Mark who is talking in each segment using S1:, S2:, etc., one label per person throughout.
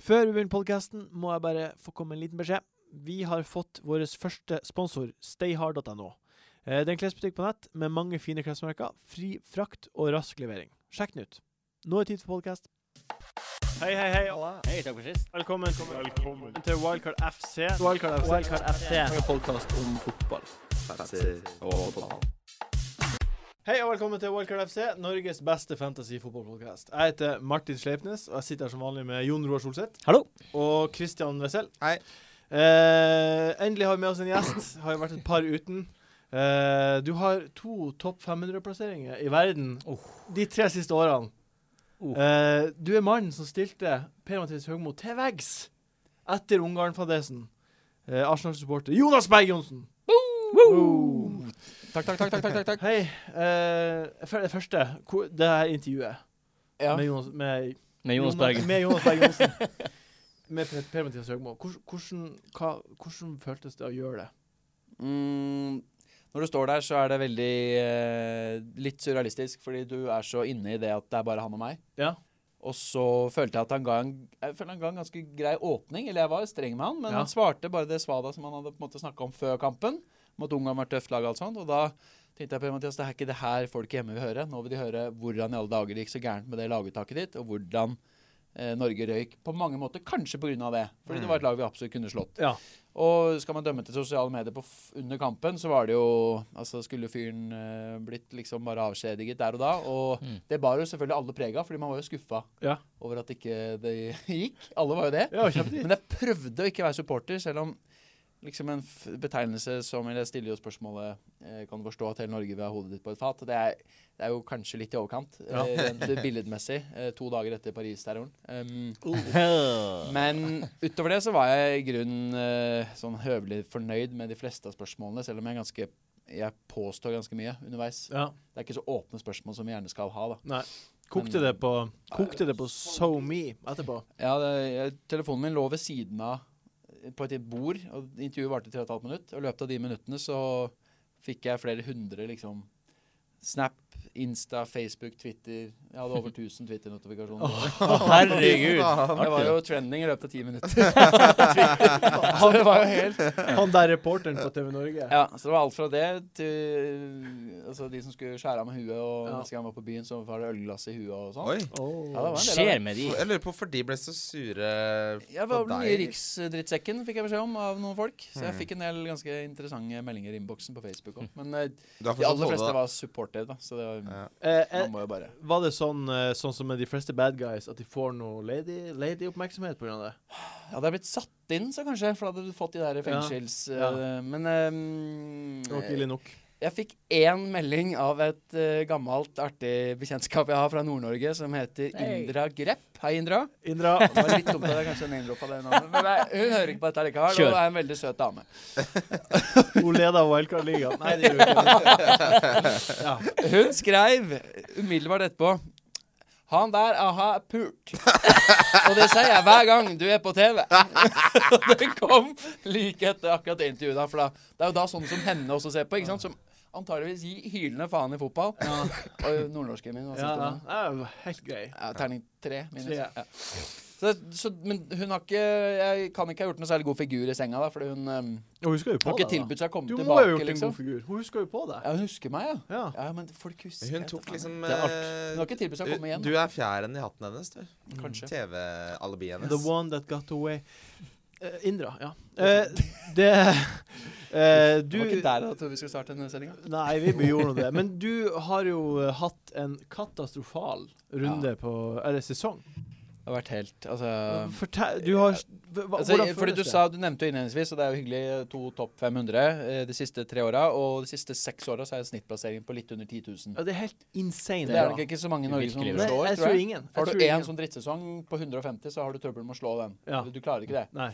S1: Før vi begynner podkasten, må jeg bare få komme med en liten beskjed. Vi har fått vår første sponsor, stayhard.no. Eh, Det er en klesbutikk på nett med mange fine klesmerker, fri frakt og rask levering. Sjekk den ut. Nå er det tid for podkast. Hei, hei, hei.
S2: Hei, takk for sist.
S1: Velkommen, til Wildcard FC. Wildcard FC. Hei og velkommen til Wildcard FC, Norges beste fantasy-fotballpodkast. Jeg heter Martin Sleipnes, og jeg sitter her som vanlig med Jon Roar Solseth.
S2: Hallo.
S1: Og Christian Wessel.
S3: Hei.
S1: Eh, endelig har vi med oss en gjest. Har jo vært et par uten. Eh, du har to topp 500-plasseringer i verden de tre siste årene.
S2: Oh.
S1: Eh, du er mannen som stilte Per-Mathias Høgmo til veggs etter Ungarn-fadesen. Eh, Arsenal-supporter Jonas Berg Johnsen. Boom!
S3: Takk, takk, takk. takk, takk, takk, takk.
S1: Hei. eh, for det første, hvor, det her intervjuet
S3: Ja.
S1: med Jonas, med,
S2: Med Jonas Berg.
S1: Med Jonas Berg Johnsen. med Per- Per-Mathias Høgmo. Hvordan, hvordan, hva- hvordan føltes det å gjøre det?
S3: Mm, når du står der, så er det veldig eh, litt surrealistisk, fordi du er så inne i det at det er bare han og meg.
S1: Ja.
S3: Og så følte jeg at han ga en, jeg følte han ga en ganske grei åpning. Eller jeg var streng med han, men
S1: Ja.
S3: han svarte bare det svada som han hadde på en måte snakka om før kampen. Om at Ungarn var et tøft lag og alt sånt. Og da tenkte jeg på Mathias, det er ikke det her folk hjemme vil høre. Nå vil de høre hvordan i alle dager det gikk så gærent med det laguttaket ditt, og hvordan eh, Norge røyk på mange måter kanskje pga. det. Fordi det var et lag vi absolutt kunne slått.
S1: Ja.
S3: Og skal man dømme til sosiale medier på f under kampen, så var det jo Altså, skulle fyren eh, blitt liksom bare avskjediget der og da? Og
S2: Mm.
S3: det bar jo selvfølgelig alle preg av, fordi man var jo skuffa
S1: Ja.
S3: over at ikke det gikk. Alle var jo det.
S1: Ja, kjempefint.
S3: Men jeg prøvde å ikke være supporter, selv om liksom en f betegnelse som Eller jeg stiller jo spørsmålet eh, Kan du forstå at hele Norge vil ha hodet ditt på et fat? Det er, det er jo kanskje litt i overkant,
S1: Ja.
S3: eh, rent billedmessig. Eh, to dager etter Paris-terroren. Um,
S2: Oh.
S3: men utover det så var jeg i grunnen eh, sånn høvelig fornøyd med de fleste av spørsmålene, selv om jeg ganske jeg påstår ganske mye underveis.
S1: Ja.
S3: Det er ikke så åpne spørsmål som vi gjerne skal ha. da.
S1: Kokte det på Kokte det på So Me etterpå?
S3: Ja, det, jeg, Telefonen min lå ved siden av eh, på et bord, og intervjuet varte i 3 15 minutter. Og i løpet av de minuttene så fikk jeg flere hundre liksom Snap, Insta, Facebook, Twitter. Jeg hadde over 1000 Twitter-notifikasjoner.
S2: Herregud.
S3: Jeg var
S2: Artig,
S3: jo trending i løpet av ti minutter. Så det var jo helt
S1: Han der reporteren på TV Norge.
S3: Ja, så det var alt fra det til altså, de som skulle skjære av med huet, og
S1: Ja.
S3: neste gang jeg var på byen, så var det ølglass i huet og sånn.
S4: Oi.
S1: Oh.
S2: da.
S3: Ja, det var en del av
S2: Skjer
S3: det.
S2: med de.
S4: Jeg lurer på hvorfor de ble så sure
S3: Jeg
S4: på
S3: var den nye
S4: deg.
S3: riksdrittsekken, fikk jeg beskjed om, av noen folk. Så jeg
S4: Mm.
S3: fikk en del ganske interessante meldinger i innboksen på Facebook òg. Men eh,
S4: Du har
S3: de
S4: fortsatt
S3: aller
S4: hodet,
S3: fleste
S4: da.
S3: var supportere, da. Så det var,
S4: Ja.
S1: Eh, eh,
S3: man må jo bare
S1: var det sånn, eh, sånn som med de fleste bad guys, at de får noe lady, lady oppmerksomhet pga. det?
S3: Ja, det hadde blitt satt inn, så kanskje, for da hadde du fått de der fengsels...
S1: ja.
S3: eh, Men
S1: Det
S3: eh,
S1: var ikke ille nok.
S3: Jeg fikk én melding av et eh, gammelt, artig bekjentskap jeg har fra Nord-Norge, som heter
S2: Hei.
S3: Indra Grepp. Hei, Indra.
S1: Indra,
S3: Det var litt dumt at jeg kanskje name-droppa det navnet, men nei, hun hører ikke på dette likevel,
S2: Kjør.
S3: og er en veldig søt dame.
S1: hun leder Wildcard-ligaen. Nei, det gjør hun ikke. Ja.
S3: Hun skrev umiddelbart etterpå Han der aha er pult. Og det sier jeg hver gang du er på TV. Og det kom like etter akkurat det intervjuet. da, For da, det er jo da sånne som henne også ser på, ikke sant? som antageligvis gir hylende faen i fotball. Og nordnorsken min. hva synes
S1: Ja,
S3: du om
S1: ja.
S3: den?
S1: Ja, det var Helt grei.
S3: Ja, terning tre. Minus.
S1: Tre.
S3: Ja. Så, så, men hun har ikke Jeg kan ikke ha gjort noe særlig god figur i senga, da, fordi hun ehm,
S1: Hun husker jo på
S3: har
S1: deg,
S3: ikke
S1: da.
S3: tilbudt seg å komme
S1: Du må ha
S3: tilbake.
S1: gjort en
S3: liksom.
S1: god figur. Hun husker jo på deg.
S3: Ja, hun husker meg, ja.
S1: Ja.
S3: Ja, men folk husker
S4: Hun
S3: jeg vet
S4: tok
S3: da,
S4: liksom
S3: Det er art.
S4: eh,
S3: Hun har ikke tilbudt seg å komme igjen.
S4: Du, du er fjæren i hatten hennes, du.
S3: da. Kanskje.
S4: TV-alibiet hennes.
S1: The one that got away. Eh, Indra, ja. Eh, det eh,
S3: Det var
S1: Du
S3: ikke der jeg trodde vi skulle starte denne sendinga.
S1: Nei, vi gjorde nå det. Men du har jo eh, hatt en katastrofal runde på Eller sesong.
S3: Det har vært helt Altså,
S1: Fortell Du har hva,
S3: altså
S1: Hvordan
S3: Fordi
S1: føles
S3: du
S1: det?
S3: sa, du nevnte jo innledningsvis, og det er jo hyggelig, to topp 500 eh, de siste tre åra. Og de siste seks åra så er snittplasseringen på litt under 10 000.
S1: Ja, det er helt insane.
S3: Det er
S1: bra.
S3: nok ikke så mange i Norge som
S2: Virkelig
S1: Nei,
S3: slår, tror
S1: jeg
S3: jeg.
S1: tror ingen.
S3: Har
S1: Jeg
S3: du
S1: tror
S3: én
S1: ingen.
S3: sånn drittsesong på 150, så har du trøbbel med å slå den.
S1: Ja.
S3: Du klarer ikke det.
S1: Nei.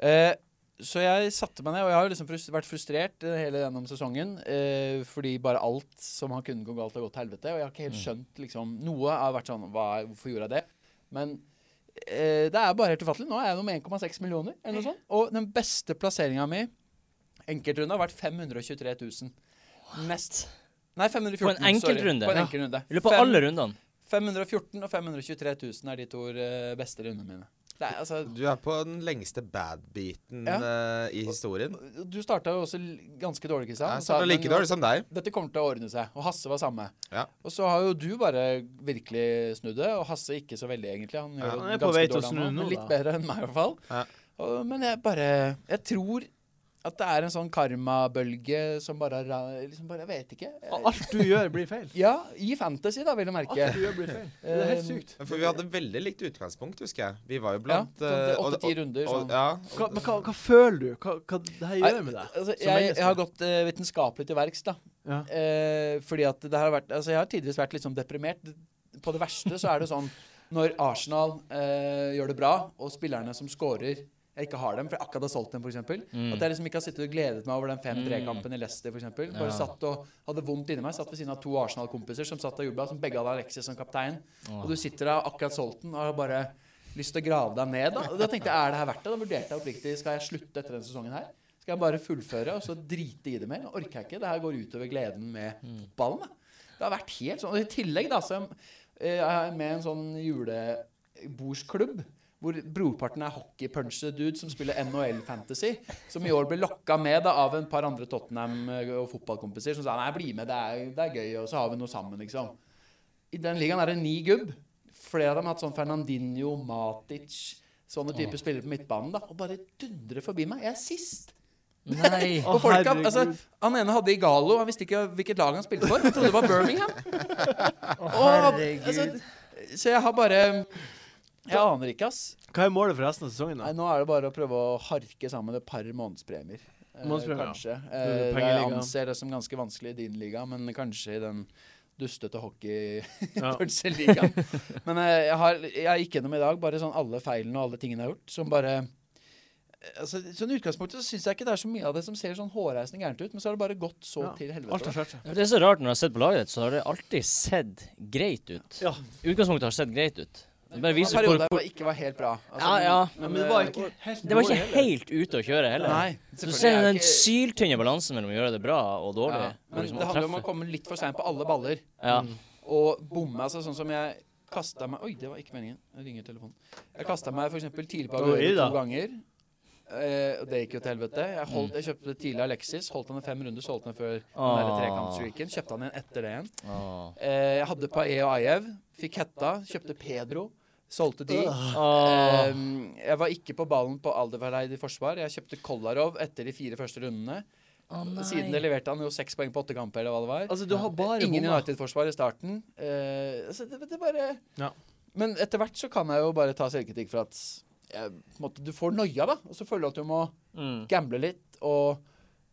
S3: Eh, så jeg satte meg ned, og jeg har jo liksom frus- vært frustrert eh, hele gjennom sesongen. Eh, fordi bare alt som har kunnet gå galt, har gått til helvete. Og jeg har ikke
S2: Mm.
S3: helt skjønt liksom Noe har vært sånn hva, Hvorfor gjorde jeg det? Men eh, det er bare helt ufattelig. Nå er jeg nå med 1,6 millioner, eller noe sånt. Og den beste plasseringa mi enkeltrunde har vært 523 000. Nest. Nei, 514
S2: På en enkeltrunde?
S3: Sorry. På en
S2: Ja.
S3: enkeltrunde.
S2: Jeg lurer på
S3: Fem-
S2: alle rundene.
S3: 514 og 523 000 er de to eh, beste rundene mine. Det er, altså,
S4: Du er på den lengste bad-beaten eh, i historien.
S3: du starta jo også l- ganske dårlig, Kristian.
S4: Jeg starta
S3: men
S4: like
S3: jo at
S4: dårlig som deg.
S3: Dette kommer til å ordne seg. Og Hasse var samme.
S4: Ja.
S3: Og så har jo du bare virkelig snudd det. Og Hasse ikke så veldig, egentlig. Han gjør
S4: Ja.
S3: det
S1: Han er på
S3: ganske
S1: vei til å
S3: dårlig,
S1: snu
S3: han også,
S1: nå,
S3: men
S1: da.
S3: litt bedre enn meg, i hvert fall.
S4: Ja.
S3: Og, men jeg bare Jeg tror at det er en sånn karmabølge som bare ra- liksom bare, Jeg vet ikke. Jeg-
S1: Alt du gjør, blir feil.
S3: Ja, i fantasy, da, vil jeg merke.
S1: Alt du gjør, blir feil. Det er helt
S3: Um,
S1: sykt.
S4: For vi hadde veldig likt utgangspunkt, husker jeg. Vi var jo
S3: Ja,
S4: blant eh, og-
S3: Åtte-ti runder.
S4: og-
S3: Sånn.
S4: og- ja,
S1: Hva, men hva, hva føler du? Hva, hva det her
S3: Nei,
S1: gjør med deg?
S3: Altså,
S1: Som
S3: jeg,
S1: menneske.
S3: jeg har gått eh, vitenskapelig til verks, da.
S1: Ja.
S3: Eh, fordi at det har vært Altså, jeg har tidvis vært litt sånn deprimert. På det verste så er det sånn når Arsenal eh, gjør det bra, og spillerne som scorer jeg ikke har dem, for jeg akkurat har solgt dem, f.eks.
S2: Mm.
S3: eksempel At jeg liksom ikke har sittet og gledet meg over den 5-3-kampen i Leicester, f.eks. Bare satt og hadde vondt inni meg. Satt ved siden av to Arsenal-kompiser som satt og jubla, som begge hadde Alexis som kaptein. Og du sitter der og har akkurat solgt den og har bare lyst til å grave deg ned. Da, da tenkte jeg er det her verdt det? Da vurderte jeg oppriktig skal jeg slutte etter denne sesongen her. Skal jeg bare fullføre og så drite i det mer? Orker jeg ikke. Det her går utover gleden med fotballen. Da. Det har vært helt sånn. Og i tillegg da, så eh, er jeg med i en sånn julebordsklubb. Hvor brorparten er hockeypuncher-dude som spiller NHL Fantasy. Som i år ble lokka med da, av en par andre Tottenham- eh, og fotballkompiser som sa nei, bli med, det er, det er gøy, og så har vi noe sammen, liksom. I den ligaen er det ni gubb. Flere av dem har hatt sånn Fernandinho, Matic, sånne typer spillere på midtbanen. da, Og bare dundrer forbi meg. Jeg er sist!
S2: Nei.
S1: Å,
S3: Og folk, har- altså,
S1: herregud.
S3: han ene hadde Igalo, han visste ikke hvilket lag han spilte for. Han trodde det var Birmingham. Og, altså, så jeg har bare Jeg aner ikke, ass.
S1: Hva er målet for resten av sesongen?
S3: Nei,
S1: da?
S3: nå er det bare å prøve å harke sammen et par månedspremier. Eh,
S1: Månedspremier, ja.
S3: kanskje.
S1: er
S3: Eh, jeg
S1: pengeliga.
S3: anser det som ganske vanskelig i din liga, men kanskje i den dustete hockey
S1: Ja.
S3: kanskje ligaen. Men eh, jeg, har, jeg gikk gjennom i dag bare sånn alle feilene og alle tingene jeg har gjort, som bare altså, Sånn i utgangspunktet så syns jeg ikke det er så mye av det som ser sånn hårreisende gærent ut, men så har det bare gått så
S1: Ja.
S3: til helvete.
S1: Alt har skjørt seg.
S2: Det er så rart når jeg har sett på laget ditt, så har det alltid sett greit ut.
S1: Ja.
S2: Utgangspunktet har sett greit ut. Det bare
S3: Det var
S2: viser hvor,
S3: perioder
S2: hvor
S3: hvor det ikke var helt bra. Altså,
S2: Ja, ja.
S1: Men det
S3: eh,
S1: var ikke helt
S2: Det var ikke helt ute å kjøre heller.
S3: Nei.
S2: Så du
S3: selvfølgelig
S2: ser
S3: er det
S2: den
S3: ikke-
S2: syltynne balansen mellom å gjøre det bra og dårlig.
S3: Ja,
S2: og
S3: Men
S2: liksom
S3: det
S2: å
S3: handler om å Mm.
S2: treffe.
S3: komme litt for seint på alle baller.
S2: Ja.
S3: og bomme. Altså sånn som jeg kasta meg Oi, det var ikke meningen. Jeg ringer telefonen. Jeg kasta meg f.eks. tidlig på
S1: Oi,
S3: Aguero
S1: da.
S3: to ganger. Eh, og det gikk jo til helvete. Jeg, holdt, jeg kjøpte tidlig Alexis. Holdt han i fem runder, solgte han før den der
S2: Ah.
S3: trekantstreaken. Kjøpte han igjen etter det igjen.
S2: Åh.
S3: Eh, jeg hadde Pae og Ajev. Fikk hetta. Kjøpte Pedro. Solgte de.
S1: Ah.
S2: Åh.
S3: Ehm, jeg var ikke på ballen på Aldervereid i forsvar. Jeg kjøpte Kolarov etter de fire første rundene. Siden det leverte han jo seks poeng på åtte kamper, eller hva det var.
S1: Altså, du har bare
S3: Ingen
S1: bomma.
S3: United-forsvar i starten. Eh, altså, det, det bare
S1: Ja.
S3: Men etter hvert så kan jeg jo bare ta selvkritikk for at jeg, på en måte, du får noia, da. Og så føler du at du må
S2: Mm.
S3: gamble litt. Og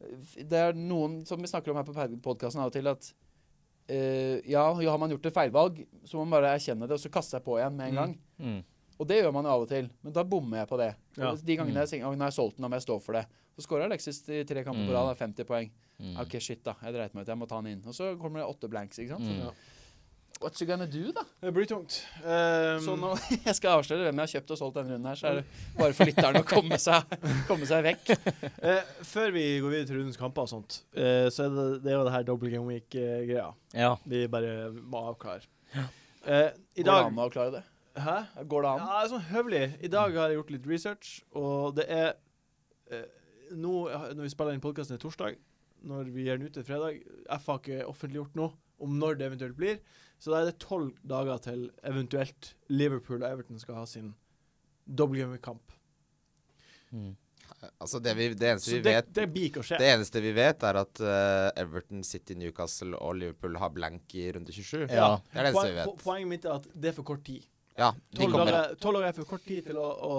S3: eh, det er noen som vi snakker om her på podkasten av og til, at eh, ja, ja, har man gjort et feilvalg, så må man bare erkjenne det, og så kaste seg på igjen med en gang.
S2: Mm.
S3: Og det gjør man jo av og til, men da bommer jeg på det.
S1: Ja. Mm.
S3: Og De gangene jeg sier at jeg har solgt den, da må jeg stå for det. Så skårer Alexis i tre
S1: Mm.
S3: kamper på rad, det er 50 poeng.
S2: mm.
S3: OK, shit, da. Jeg dreit meg ut, jeg må ta han inn. Og så kommer det åtte blanks, ikke sant.
S1: Ja.
S3: What's you gonna do, da?
S1: Det blir tungt. Um,
S3: Så Sånn nå jeg skal avsløre hvem jeg har kjøpt og solgt denne runden her, så er det bare for lytterne å komme seg, komme seg vekk.
S1: eh, før vi går videre til rundens kamper og sånt, eh, så er det, det er jo det her double game week-greia.
S2: Ja.
S1: Vi bare må avklare. Eh, I
S3: Går det
S1: dag
S3: an å avklare det?
S1: Hæ?
S3: Går det
S1: Ja,
S3: an?
S1: det er sånn høvelig. I dag har jeg gjort litt research, og det er eh, nå, Når vi spiller inn podkasten, er torsdag. Når vi gjør den ute fredag. F har ikke offentliggjort noe om når det eventuelt blir. Så da er det tolv dager til eventuelt Liverpool og Everton skal ha sin WM-kamp.
S2: Mm.
S4: Altså, det, vi, det eneste
S1: Så
S4: vi
S1: det,
S4: vet
S1: det blir ikke å skje.
S4: Det eneste vi vet, er at eh, Everton, City, Newcastle og Liverpool har blank i runde 27.
S2: Ja.
S4: Det er det eneste
S1: Poen,
S4: vi
S1: po-
S4: vet.
S1: poenget mitt er at det er for kort tid.
S4: Ja, de
S1: Tolv
S4: kommer.
S1: dager, tolv dager er for kort tid til å, å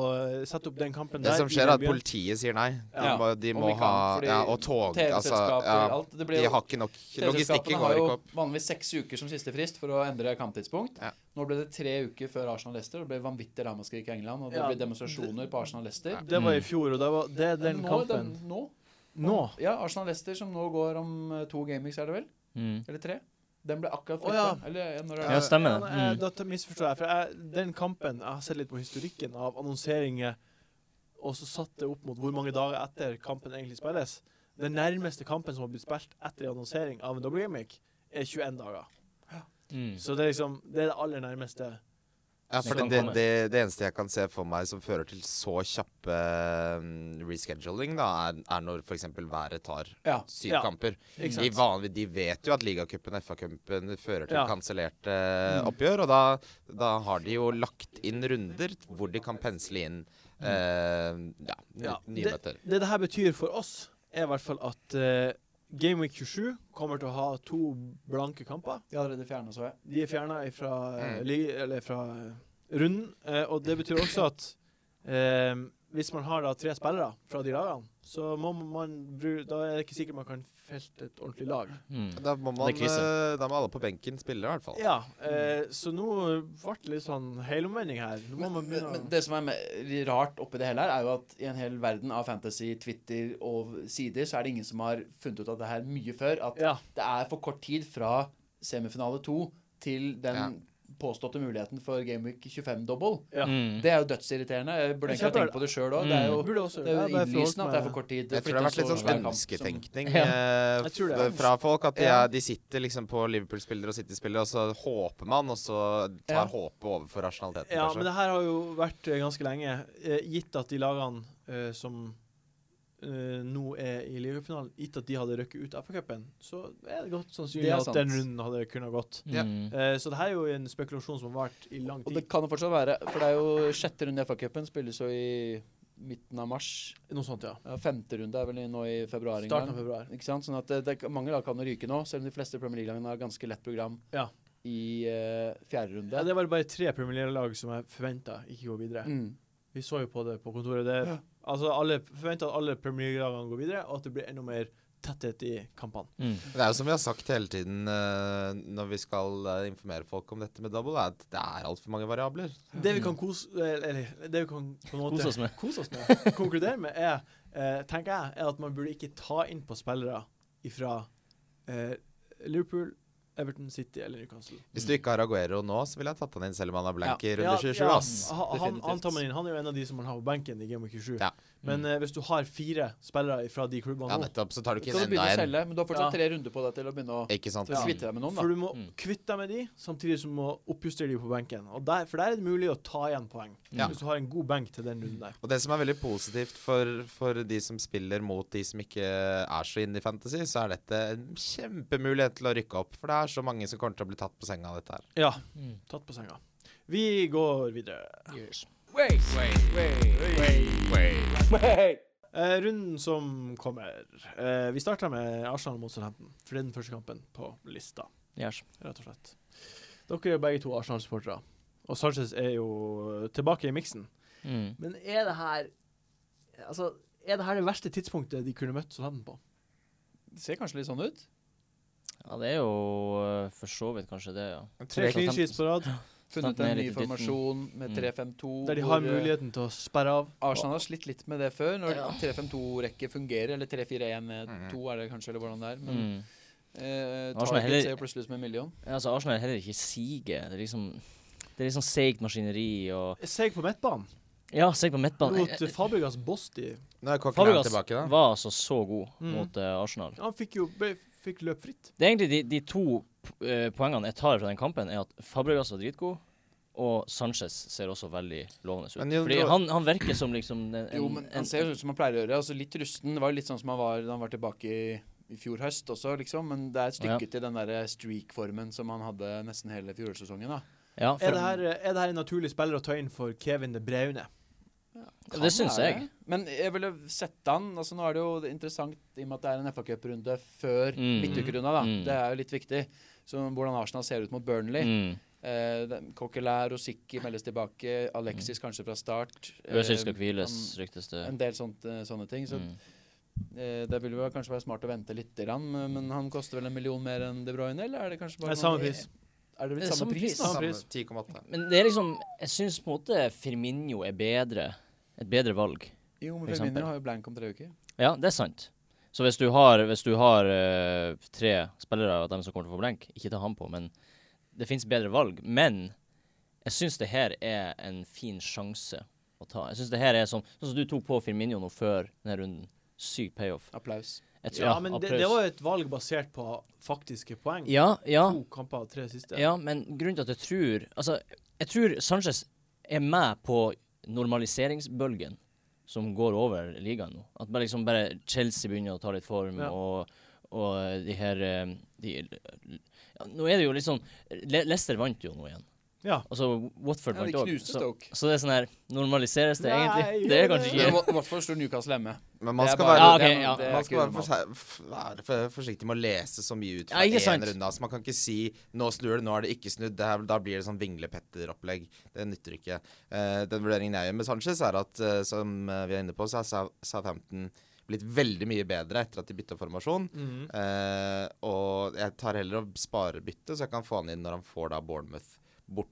S1: sette opp den kampen
S4: Det
S1: der.
S4: som
S1: i
S4: skjer,
S1: den
S4: er at
S1: byen.
S4: politiet sier nei. De
S3: Ja,
S4: må, de
S3: om
S4: må
S3: ikke
S4: ha
S3: annet, fordi
S4: ja, Og tog. Altså,
S3: TV-selskaper,
S4: ja,
S3: alt. Det blir
S4: de
S3: jo-
S4: har ikke nok Logistikken
S3: Teleselskapene
S4: går
S3: har jo
S4: ikke opp.
S3: vanligvis seks uker som siste frist for å endre kamptidspunkt.
S4: Ja.
S3: Nå ble det tre uker før Arsenal-Leicester. Det ble vanvittig ramaskrik i England, og det
S1: Ja.
S3: ble demonstrasjoner på Arsenal-Leicester.
S1: Det var i
S4: Mm.
S1: fjor, og det, var, det er den
S3: Men nå,
S1: kampen.
S3: den- nå?
S1: Nå?
S3: Ja, Arsenal-Leicester som nå går om eh, to gameweeks, er det vel?
S2: Mm.
S3: Eller tre? Den ble akkurat
S1: Å, ja.
S3: flytta. Eller når er
S2: Ja,
S3: det?
S2: stemmer
S1: Ja,
S2: det.
S1: nei,
S2: Mm.
S1: Da t- misforstår jeg. For jeg, den kampen Jeg har sett litt på historikken av annonseringer, og så satt det opp mot hvor mange dager etter kampen egentlig spilles. Den nærmeste kampen som har blitt spilt etter annonsering av en dobbeltgimmick, er 21 dager.
S2: Mm.
S1: Så det er liksom Det er det aller nærmeste
S4: Ja,
S2: som
S4: for
S2: kan
S4: det,
S2: komme.
S4: det, det eneste jeg kan se for meg som fører til så kjappe mm, rescheduling, da, er, er når f.eks. været tar
S3: Ja.
S4: syv
S1: Ja,
S4: kamper.
S1: ikke
S4: De,
S1: sant.
S4: vanlig, de vet jo at ligacupen og FA-cupen fører til
S1: Ja.
S4: kansellerte oppgjør, og da, da har de jo lagt inn runder hvor de kan pensle inn eh, ja, ny-
S1: Ja,
S4: nye møter.
S1: Det det her betyr for oss, er i hvert fall at eh, Game Week 27 kommer til å ha to blanke kamper.
S3: De har allerede fjerna, så jeg.
S1: De er fjerna fra, eh,
S4: Mm.
S1: li- eller fra eh, runden. eh, og det betyr også at eh, hvis man har da tre spillere fra de lagene, så må man bru- Da er det ikke sikkert man kan felte et ordentlig lag.
S2: Mm.
S4: Da må, man,
S2: Det er krise.
S4: eh, da må alle på benken spille, i hvert fall.
S1: Ja, eh, så nå ble det litt sånn helomvending her. Nå må man
S3: Men, men,
S1: begynne
S3: men
S1: å
S3: det som er me- rart oppi det hele her, er jo at i en hel verden av fantasy, Twitter og sider, så er det ingen som har funnet ut av det her mye før. At
S1: Ja.
S3: det er for kort tid fra semifinale to til den
S4: Ja.
S3: påståtte muligheten for Gameweek 25-double.
S1: Ja.
S2: Mm.
S3: Det er jo dødsirriterende. Jeg burde egentlig ha tenkt på det sjøl òg. Det er jo,
S1: Burde også-
S3: det er
S1: ja,
S3: jo
S1: bare forholdt
S3: innlysende at det er
S1: meg-
S3: for kort tid.
S4: Mm. Jeg tror det har vært litt
S3: flytter så
S4: sånn
S3: svær kamp som-
S4: ønsketenkning
S2: Ja.
S4: eh,
S1: Jeg tror det.
S4: f- fra folk. At de,
S1: Ja.
S4: er- de sitter liksom på Liverpool-spillere og City-spillere, og så håper man, og så
S3: Ja.
S4: tar håpet over for rasjonaliteten,
S1: Ja, men
S4: kanskje.
S1: det her har jo vært eh, ganske lenge. Eh, gitt at de lagene eh, som eh, nå er i ligafinalen, gitt at de hadde røkket ut av FA-cupen, så er det godt sannsynlig
S3: Det er
S1: at
S3: sant.
S1: den runden hadde kunnet gått.
S4: Ja.
S2: Mm.
S1: Eh, så det her er jo en spekulasjon som har vært i lang
S3: Og
S1: tid.
S3: det kan det fortsatt være, for det er jo sjette runde i FA-cupen. Spilles jo i midten av mars.
S1: Noe sånt, ja.
S3: Ja, femte runde er vel i- nå i februar. en
S1: Starten
S3: gang.
S1: av februar.
S3: Ikke sant? Sånn at det, det, Mange lag kan jo ryke nå, selv om de fleste Premier League-lagene har ganske lett program
S1: Ja.
S3: i eh, fjerde runde.
S1: Ja, det var bare tre Premier League-lag som jeg forventa ikke går videre.
S3: mm.
S1: Vi så jo på det på kontoret. Det,
S3: Ja.
S1: Altså, alle forventa at alle Premier League-lagene går videre, og at det blir enda mer tetthet i kampene.
S2: Mm.
S4: Det er jo som vi har sagt hele tiden eh, når vi skal eh, informere folk om dette med double, er at det er altfor mange variabler.
S1: Det vi kan kose Eller det vi kan på en måte
S2: Kose oss med.
S1: kose oss med, konkludere med, er, eh, tenker jeg, er at man burde ikke ta inn på spillere fra eh, Liverpool, Everton City eller Newcastle.
S4: Hvis du ikke har Aguero nå, så ville jeg tatt han inn selv om han er blank i runde
S1: Ja,
S4: 27,
S1: ja, Ah,
S4: ass.
S1: ha- han, han
S3: Definitivt.
S1: tar man inn. Han er jo en av de som man har på benken i Game of 27.
S4: Ja.
S1: Men eh, hvis du har fire spillere fra de
S4: Ja,
S1: klubbene nå
S4: nettopp. Så tar du
S3: Så
S4: ikke
S3: kan du
S4: inn
S3: begynne å
S4: enda en.
S3: selge, men du har fortsatt
S1: Ja.
S3: tre runder på deg til å begynne å
S4: Ikke sant?
S1: Ja.
S3: kvitte deg med noen.
S1: For
S3: da.
S1: du må
S2: Mm.
S1: kvitte deg med de, samtidig som du må oppjustere de på benken. Og der, for der er det mulig å ta igjen poeng,
S4: Ja.
S1: hvis du har en god benk til den runden der.
S4: Og det som er veldig positivt for, for de som spiller mot de som ikke er så inne i fantasy, så er dette en kjempemulighet til å rykke opp. For det er så mange som kommer til å bli tatt på senga av dette her.
S1: Ja,
S2: Mm.
S1: tatt på senga. Vi går videre. Eh, runden som kommer eh, Vi starter med Arsenal mot Southampton. For det er den første kampen på lista,
S2: Yes.
S1: rett og slett. Dere er begge to Arsenal-supportere. Og Sanchez er jo tilbake i miksen.
S2: Mm.
S1: Men er det her Altså, er det her det verste tidspunktet de kunne møtt Southampton på?
S3: Det ser kanskje litt sånn ut.
S2: Ja, det er jo eh, for så vidt kanskje det, ja.
S1: Tre clean
S2: Southampton-
S1: sheets på rad,
S3: Funnet
S2: Starten er
S3: en ny
S2: litt i dytten.
S3: formasjon med
S2: Mm.
S3: 3-5-2.
S1: der de har
S3: hvor, eh,
S1: muligheten til å sperre av.
S3: Arsenal har slitt litt med det før, når
S2: Ja.
S3: 3-5-2-rekke fungerer. Eller 3-4-1-2 eh, er det kanskje, eller hvordan det er. Men
S2: Mm.
S3: eh,
S2: Arsenal
S3: Target
S2: heller-
S3: ser jo plutselig ut som en million.
S2: Ja, Altså, Arsenal er heller ikke siget. Det er liksom Det er liksom seigt maskineri og
S1: Seg på midtbanen
S2: Ja, seigt på midtbanen.
S1: mot eh, Fabregas Bosti.
S4: Nå er Coquelin
S2: Fabregas
S4: tilbake, da.
S2: var altså så god
S1: Mm.
S2: mot eh, Arsenal.
S1: Han fikk jo ble- fikk løp fritt.
S2: Det er egentlig de, de to eh, poengene jeg tar fra den kampen, er at Fabregas var dritgod, og Sanchez ser også veldig lovende ut.
S4: Men jo,
S2: Fordi
S4: det var-
S2: han, han virker som liksom en,
S3: Jo, men han ser jo ut som han pleier å gjøre. Altså Litt rusten. Det var jo litt sånn som han var da han var tilbake i, i fjor høst også, liksom. Men det er et stykke
S2: Ja.
S3: til den der streak-formen som han hadde nesten hele fjorårssesongen. da.
S2: ja,
S1: Er
S2: for,
S1: det her, er det her en naturlig spiller å ta inn for Kevin De Braune?
S2: det,
S3: Kan
S2: syns
S3: være.
S2: jeg.
S3: Men jeg ville sette han altså Nå er det jo interessant i og med at det er en FA-cuprunde før
S2: Mm.
S3: midtukerunda, da.
S2: Mm.
S3: Det er jo litt viktig. Så hvordan Arsenal ser ut mot Burnley.
S2: Mm.
S3: Eh, Coquelin, Rosicki meldes tilbake. Alexis
S2: Mm.
S3: kanskje fra start.
S2: Øzil
S3: Eh,
S2: skal hviles,
S3: han-
S2: ryktes det.
S3: En del sånt, eh, sånne ting. Så
S2: Mm.
S3: Eh, Det ville jo kanskje være smart å vente litt, grann, men men han koster vel en million mer enn De Bruyne? Eller er det kanskje bare
S1: Nei, samme pris.
S3: Er det
S2: Det
S3: blitt
S2: er Eh,
S3: samme,
S2: samme
S3: pris?
S2: pris.
S3: da?
S1: Samme
S4: Samme
S1: pris.
S4: 10,8.
S2: Men det er liksom Jeg syns på en måte Firminho er bedre. Et bedre valg.
S3: Jo,
S2: For
S3: men
S2: eksempel.
S3: Firmino har jo blank om tre uker.
S2: Ja, det er sant. Så hvis du har, hvis du har eh, tre spillere av dem som kommer til å få blenk, ikke ta han på, men det fins bedre valg. Men jeg syns det her er en fin sjanse å ta. Jeg syns det her er sånn Sånn som du tok på Firmino nå før denne runden. Syk payoff.
S3: Applaus.
S2: Jeg tror-
S1: Ja, men det,
S2: applaus.
S1: det var jo et valg basert på faktiske poeng.
S2: Ja, ja.
S1: To kamper av tre siste.
S2: Ja, men grunnen til at jeg tror Altså, Jeg tror Sanchez er med på normaliseringsbølgen som går over ligaen nå. At bare, liksom bare Chelsea begynner å ta litt form,
S1: Ja.
S2: og, og de her eh, de, ja, Nå er det jo litt sånn Le Leicester vant jo nå igjen.
S1: Ja.
S2: Altså Watford
S3: Ja, de
S2: vant òg.
S3: knuste
S2: Så,
S3: Stoke.
S2: så det er sånn her Normaliseres det
S1: Nei,
S2: egentlig?
S1: gjør
S2: Det
S1: det.
S2: er kanskje
S3: Men
S2: ikke
S3: Wa- Watford slo Newcastle hjemme.
S4: Men man
S3: Det er
S4: skal
S3: bare-
S4: være,
S2: Ja, ok,
S3: det er-
S2: ja.
S3: det er
S4: man skal
S3: ikke
S4: være
S3: normalt.
S4: forse- f- være for- forsiktig med å lese så mye ut
S2: Ja,
S4: fra
S2: ikke
S4: én
S2: sant.
S4: runde. Altså, man kan ikke si 'nå snur det, nå er det ikke snudd'. Det her, da blir det sånn vinglepetteropplegg. Det nytter ikke. Eh, den vurderingen jeg gjør med Sanchez, er at eh, som eh, vi er inne på, så er Sou- Southampton blitt veldig mye bedre etter at de bytta formasjon.
S1: Mhm.
S4: Eh, og jeg tar heller og sparer byttet, så jeg kan få han inn når han får da Bournemouth borte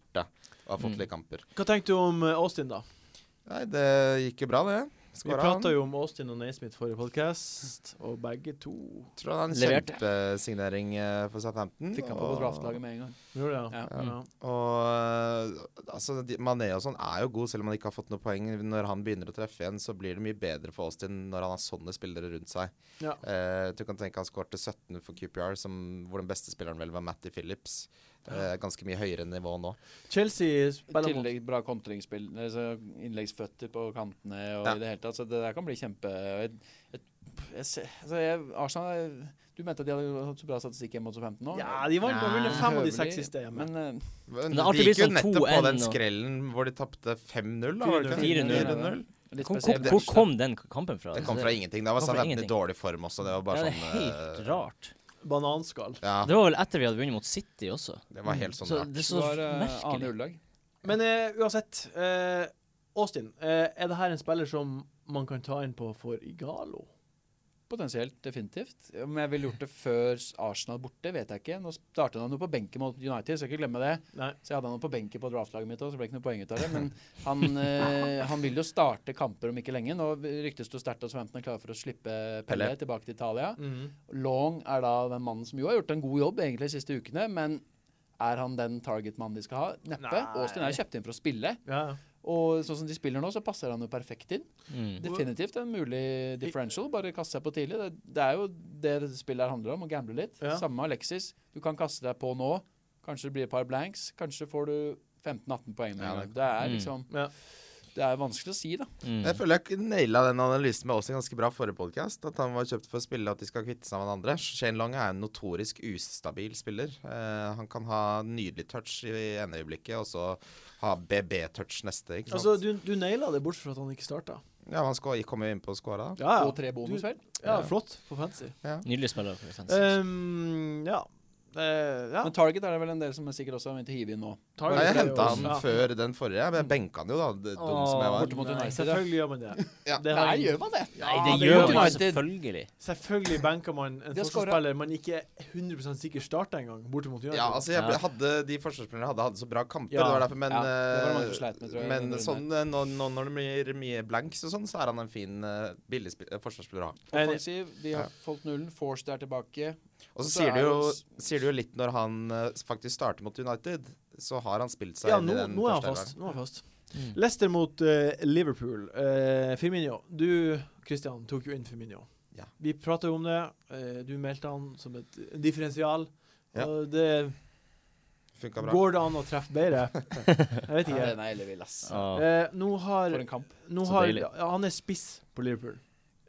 S4: og har fått
S2: Mm.
S4: litt kamper.
S1: Hva tenkte du om eh, Austin, da?
S4: Nei, det gikk jo bra, det.
S1: Vi
S4: Skåra han.
S1: prata jo om Austin og Naismith forrige podkast, og begge to
S4: Tror han er en
S2: Leverte.
S4: kjempesignering eh, for Southampton.
S3: Fikk han på
S4: og-
S3: draftlaget med en gang.
S1: Gjorde det,
S3: Ja. Mm.
S1: ja. ja.
S4: Og eh, altså, de- Mané og sånn er jo god, selv om han ikke har fått noen poeng. Når han begynner å treffe igjen, så blir det mye bedre for Austin når han har sånne spillere rundt seg.
S1: Ja.
S4: Eh, du kan tenke han skårte 17 for QPR, som, hvor den beste spilleren vel var Matty Phillips. Eh, ganske mye høyere nivå nå.
S1: Chelsea
S3: I
S1: spiller mot
S3: tillegg bra kontringsspill. altså Innleggsføtter på kantene og
S4: Ja.
S3: i det hele tatt. Så det der kan bli kjempe jeg, jeg, jeg, ser- altså jeg, Arsenal Du mente at de hadde hatt så bra statistikk hjemme mot 15 nå?
S1: Ja, de vant bare
S3: Nei.
S1: fem av de
S3: Høvelig,
S1: seks siste hjemme.
S3: Men eh,
S4: Men
S2: det har
S4: de
S2: alltid
S4: gikk jo
S2: blitt sånn
S4: nettopp på
S2: 2-1
S4: den
S2: og-
S4: skrellen hvor de tapte 5-0. da, var det ikke?
S2: 4-0.
S4: 4-0.
S3: litt
S2: hvor, hvor,
S3: spesielt.
S2: hvor kom den kampen fra?
S4: Det kom fra ingenting. Da var
S2: Altså, kom fra
S4: Southampton i
S2: ingenting.
S4: dårlig form også. Det var
S2: Ja,
S4: bare
S2: det
S4: sånn
S2: er helt
S4: eh,
S2: rart.
S1: Bananskall.
S4: Ja,
S2: Det var vel etter vi hadde vunnet mot City også.
S4: det var helt sånn
S2: så det er
S4: rart.
S3: Det
S2: så
S3: var uh,
S2: merkelig.
S3: annet hullag.
S1: Men eh, uansett, eh, Austin, eh, er det her en spiller som man kan ta inn på for Igalo?
S3: Potensielt, definitivt. Om jeg ville gjort det før Arsenal borte, vet jeg ikke. Nå startet han jo på benken mot United, skal ikke glemme det.
S1: Nei.
S3: Så jeg hadde han jo på benken på draftlaget mitt òg, så ble det ikke noe poeng ut av det. Men han, eh, han vil jo starte kamper om ikke lenge. Nå ryktes det jo sterkt at Southampton er klare for å slippe Pelle
S4: Pelle.
S3: tilbake til Italia.
S1: Mhm.
S3: Long er da den mannen som jo har gjort en god jobb egentlig de siste ukene, men er han den target-mannen de skal ha? Neppe.
S1: Nei.
S3: Austin er jo kjøpt inn for å spille,
S1: Ja, ja.
S3: og sånn som de spiller nå, så passer han jo perfekt inn.
S2: Mm.
S3: Definitivt en mulig differential. Bare kaste seg på tidlig. Det, det er jo det dette spillet her handler om, å gamble litt.
S1: Ja.
S3: Samme med Alexis. Du kan kaste deg på nå. Kanskje det blir et par blanks. Kanskje får du 15-18 poeng. med en
S4: Ja,
S3: gang. Det er
S2: Mm.
S3: liksom
S1: Ja.
S3: Det er vanskelig å si, da.
S2: Mm.
S4: Jeg føler jeg naila den analysen med Austin ganske bra forrige podkast. At han var kjøpt for å spille at de skal kvitte seg med den andre. Shane Long er en notorisk ustabil spiller. Eh, han kan ha nydelig touch i ene øyeblikket, og så ha BB-touch neste. Ikke sant?
S1: Altså, du, du naila det bortsett fra at han ikke starta.
S4: ja, han sko- kom jo inn på å score da.
S1: Ja,
S3: Og tre bonus,
S1: Du-
S3: vel.
S1: ja, flott på fancy.
S2: Nydelig spiller for defense.
S1: Um, ja. Eh, ja.
S3: Men Target er det vel en del som er sikkert også har begynt å hive inn nå.
S1: Target
S4: Nei, jeg
S1: er jo-
S4: henta han
S1: ja.
S4: før den forrige,
S3: Mm.
S4: men jeg benka han jo, da. det- Dum som jeg
S3: Borte
S4: var.
S3: mot
S1: Nei,
S3: United.
S1: selvfølgelig gjør man det.
S4: Ja.
S1: Det har jeg-
S3: man det?
S2: Nei,
S1: Ja,
S2: det
S1: det
S2: gjør
S1: gjør
S2: man
S3: United.
S2: selvfølgelig.
S1: Selvfølgelig banker man en
S3: De har skåret.
S1: forsvarsspiller man ikke er 100 sikker starter engang, borte mot United.
S4: Ja, altså jeg ble,
S2: Ja.
S4: hadde, De forsvarsspillerne hadde hatt så bra kamper,
S1: Ja.
S4: det var derfor, men
S3: Ja, det var det mange
S4: eh,
S3: som sleit med, tror jeg,
S4: Men
S3: denne
S4: sånn, eh, nå, nå når det blir mye blanks og sånn, så er han en fin, eh, billig spi- eh, forsvarsspiller å ha.
S3: Offensiv. De
S4: Ja.
S3: har fått nullen. Forced er tilbake.
S4: Og så
S3: Så
S4: sier
S3: er
S4: det, jo,
S3: det
S4: sier det jo litt når han eh, faktisk starter mot United, så har han spilt seg
S1: Ja,
S4: inn
S1: nå,
S4: i den
S1: nå er han
S4: første
S1: fast.
S4: elveren.
S1: Nå er han fast.
S2: Mm.
S1: Leicester mot eh, Liverpool. Eh, Firmino, du Christian, tok jo inn Firmino.
S4: Ja.
S1: Vi prata jo om det. Eh, du meldte han som et differensial.
S4: Ja.
S1: Og det
S4: Funka bra.
S1: Går det an å treffe bedre? Jeg vet
S3: Ja,
S1: ikke.
S3: den er ellevill, ass.
S2: Ja.
S1: Eh, nå har,
S3: For en kamp.
S1: nå
S2: Så
S1: har
S2: deilig.
S1: ja, Han er spiss på Liverpool.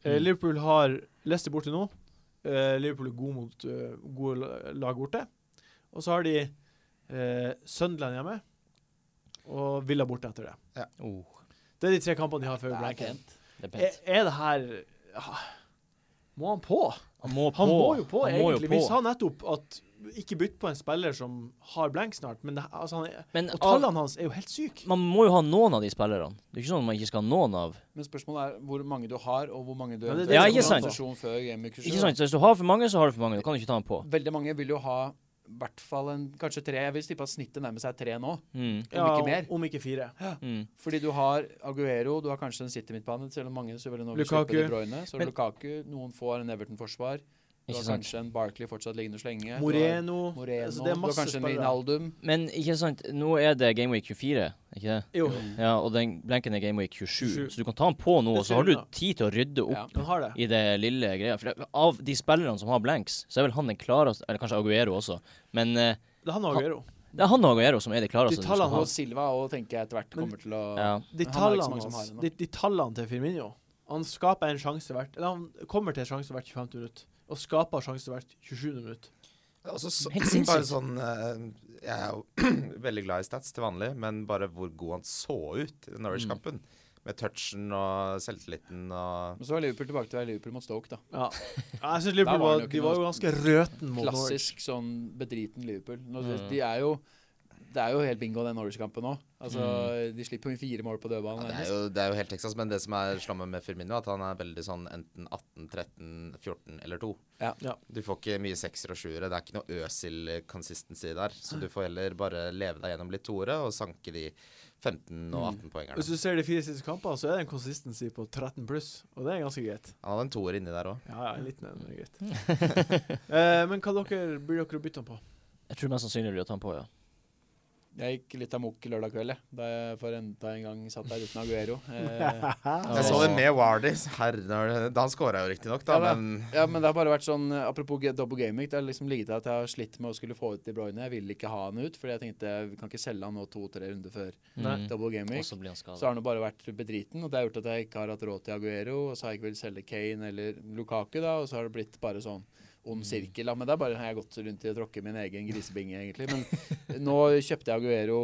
S1: Eh,
S2: Mm.
S1: Liverpool har Leicester borte nå. Eh, Liverpool er god mot eh, gode la- lag borte. Og så har de eh, Sunderland hjemme og Villa borte etter det.
S2: Oh,
S1: Det er de tre kampene de har før
S3: Det er
S1: Blanken.
S3: pent.
S2: det er
S1: Er,
S2: pent.
S1: er det her ja, Må han på?
S2: Han må på.
S1: Han må jo på,
S2: Han må jo
S1: egentlig. Vi sa nettopp at ikke bytt på en spiller som har blank snart, men det, altså, han er,
S2: Men
S1: og
S2: av,
S1: tallene hans er jo helt syke.
S2: man må jo ha noen av de spillerne. Det er ikke sånn at man ikke skal ha noen av.
S3: Men spørsmålet er hvor mange du har, og hvor mange du
S1: Ja, det-
S3: eventuelt
S2: Ja,
S3: har
S2: ikke sant.
S3: posisjon før Game Week 27.
S2: Ikke sant? Så Hvis du har for mange, så har du for mange. Du kan ikke ta dem på.
S3: Veldig mange vil jo ha i hvert fall en, kanskje tre. Jeg vil tippe at snittet nærmer seg tre nå,
S2: Mm.
S3: om ikke mer.
S1: om ikke fire.
S2: Mm.
S3: Fordi du har Aguero, du har kanskje en City-midtbane, selv om mange selvfølgelig nå vil
S1: Lukaku.
S3: kjøpe De Bruyne. Så
S1: Men-
S3: Lukaku, noen får en Everton-forsvar. Du
S2: Ikke
S3: har
S2: sant.
S3: kanskje en Barkley fortsatt liggende og slenge.
S1: Moreno,
S3: Du har Moreno.
S1: altså, Det er
S3: du har
S1: masse
S3: kanskje en
S1: spillere.
S3: Wijnaldum.
S2: Men ikke sant, nå er det Game Week 24, ikke det?
S1: Jo,
S2: Ja, og den blenken er Game Week
S1: 27.
S2: 27. Så du kan ta den på nå,
S1: Det
S2: og så har du
S1: sier du da.
S2: tid til å rydde opp
S3: Ja.
S1: han har det.
S2: i det lille greia. For det- av de spillerne som har blanks, så er vel han den klareste Eller kanskje Aguero også, men eh,
S1: Det er han og Aguero.
S2: Det er han og Aguero som er de klareste
S1: De
S2: du skal
S1: tallene
S2: ha.
S3: Og Silva og tenker jeg etter hvert kommer til å
S2: Ja.
S1: De
S3: Han har ikke så
S1: tallene,
S3: mange som har
S1: hans,
S3: det nå.
S1: de, de tallene til Firmino Han skaper en sjanse hvert Eller han kommer til en sjanse hvert 25 minutt og skaper sjanse hvert 27 minutt.
S4: Og så så-
S2: Helt sinnssykt.
S4: bare sånn eh, Jeg er jo veldig glad i stats til vanlig, men bare hvor god han så ut i
S1: Mm.
S4: den Norwich-kampen. Med touchen og selvtilliten og
S3: Men så var Liverpool tilbake til å være Liverpool mot Stoke, da.
S1: Ja. ja jeg synes Liverpool
S3: Der var han
S1: var,
S3: jo ikke
S1: de var jo
S3: noe
S1: ganske røten mot Norwich.
S3: Klassisk sånn bedriten Liverpool. Nå,
S2: Mm.
S3: De er jo Det er jo helt bingo, den Norwich-kampen nå. Altså,
S2: Mm.
S3: De slipper jo inn fire mål på
S4: ja,
S3: dødballen.
S4: det, er
S3: nærmest.
S4: jo, det er jo helt Texas, men det som er slamme med Firmino, er at han er veldig sånn enten 18, 13, 14 eller 2.
S3: Ja.
S1: Ja.
S4: Du får ikke mye sekser og sjuere. Det er ikke noe Øsil-consistency der. Så du får heller bare leve deg gjennom litt toere og sanke de 15- og
S1: Hvis
S4: 18-poengerne.
S1: du ser de fire siste kampene, så er det en consistency på 13 pluss, og det er ganske greit.
S4: Han hadde en toer inni der òg.
S1: Ja, ja, en liten en er greit. eh, men hva dere blir dere å bytte han på?
S2: Jeg tror mest sannsynlig det blir å ta han på, ja.
S3: Jeg gikk litt amok lørdag kveld, jeg, da jeg for enda en gang satt der uten Aguero. Eh,
S2: Ja.
S4: Jeg så det med Wardy. Herre, han skåra jo riktignok, da,
S3: Ja da.
S4: men
S3: ja, men det har bare vært sånn eh, Apropos ge- double gaming. Det har liksom ligget der at jeg har slitt med å skulle få ut De Bruyne. Jeg ville ikke ha han ut, fordi jeg tenkte vi kan ikke selge han nå to-tre runder før
S2: Mm.
S3: double gaming.
S2: Og så blir han
S3: Så har
S2: skadet
S3: han jo bare vært bedriten, og det har gjort at jeg ikke har hatt råd til Aguero, og så har jeg ikke villet selge Kane eller Lukaku, da, og så har det blitt bare sånn ond sirkel. Da. Men det er bare jeg har gått rundt i å tråkke min egen grisebinge, egentlig. Men nå kjøpte jeg Aguero,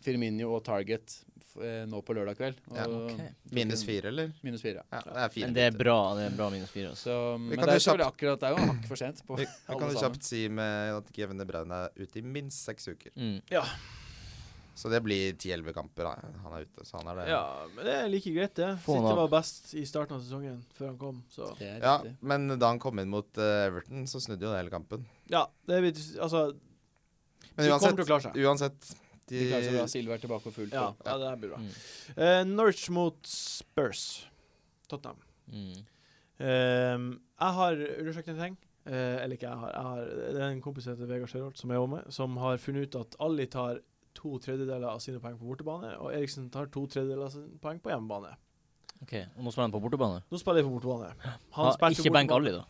S3: Firmino og Target f- eh, nå på lørdag kveld. Og
S4: Ja,
S2: ok.
S4: minus fire, eller?
S3: Minus fire.
S4: Ja, det er fire.
S2: Men det er
S4: minutter.
S2: bra. Det er bra minus fire. Altså.
S3: Så,
S4: Vi
S3: men
S4: kan
S3: det er
S4: jo
S3: selvfølgelig akkurat det er jo en hakk for sent på
S4: Vi, vi kan
S3: alle
S4: jo
S3: sammen.
S4: kjapt si med at Kevin De Bruyne er ute i minst seks uker.
S2: Mm.
S4: Så det blir ti-elleve kamper. Da. Han er ute, så han er det.
S1: Ja, men det er like greit, det.
S2: Få han
S1: City
S2: av.
S1: var best i starten av sesongen, før han kom, så
S3: Det er
S4: Ja,
S3: riktig.
S4: men da han kom inn mot eh, Everton, så snudde jo det hele kampen.
S1: Ja, det blir Altså,
S4: Men
S1: de kommer
S4: uansett,
S1: til å klare seg.
S4: uansett de,
S3: De klarer seg bra. Silva er tilbake for fullt.
S1: Ja,
S3: og-
S1: ja det her blir bra.
S2: Mm.
S1: Eh, Norwich mot Spurs. Tottenham.
S2: Mm.
S1: Ehm, jeg har undersøkt en ting. Eh, eller ikke jeg har. Jeg har det er en kompis som heter Vegard Sjørholt, som jeg jobber med, som har funnet ut at Ali tar to tredjedeler av sine poeng på bortebane, og Eriksen tar to tredjedeler av sine poeng på hjemmebane.
S2: OK. Og nå spiller han på bortebane.
S1: Nå spiller jeg på bortebane.
S2: Ha,
S1: spilte
S2: ikke
S1: bortebane-
S2: bank Ali, da.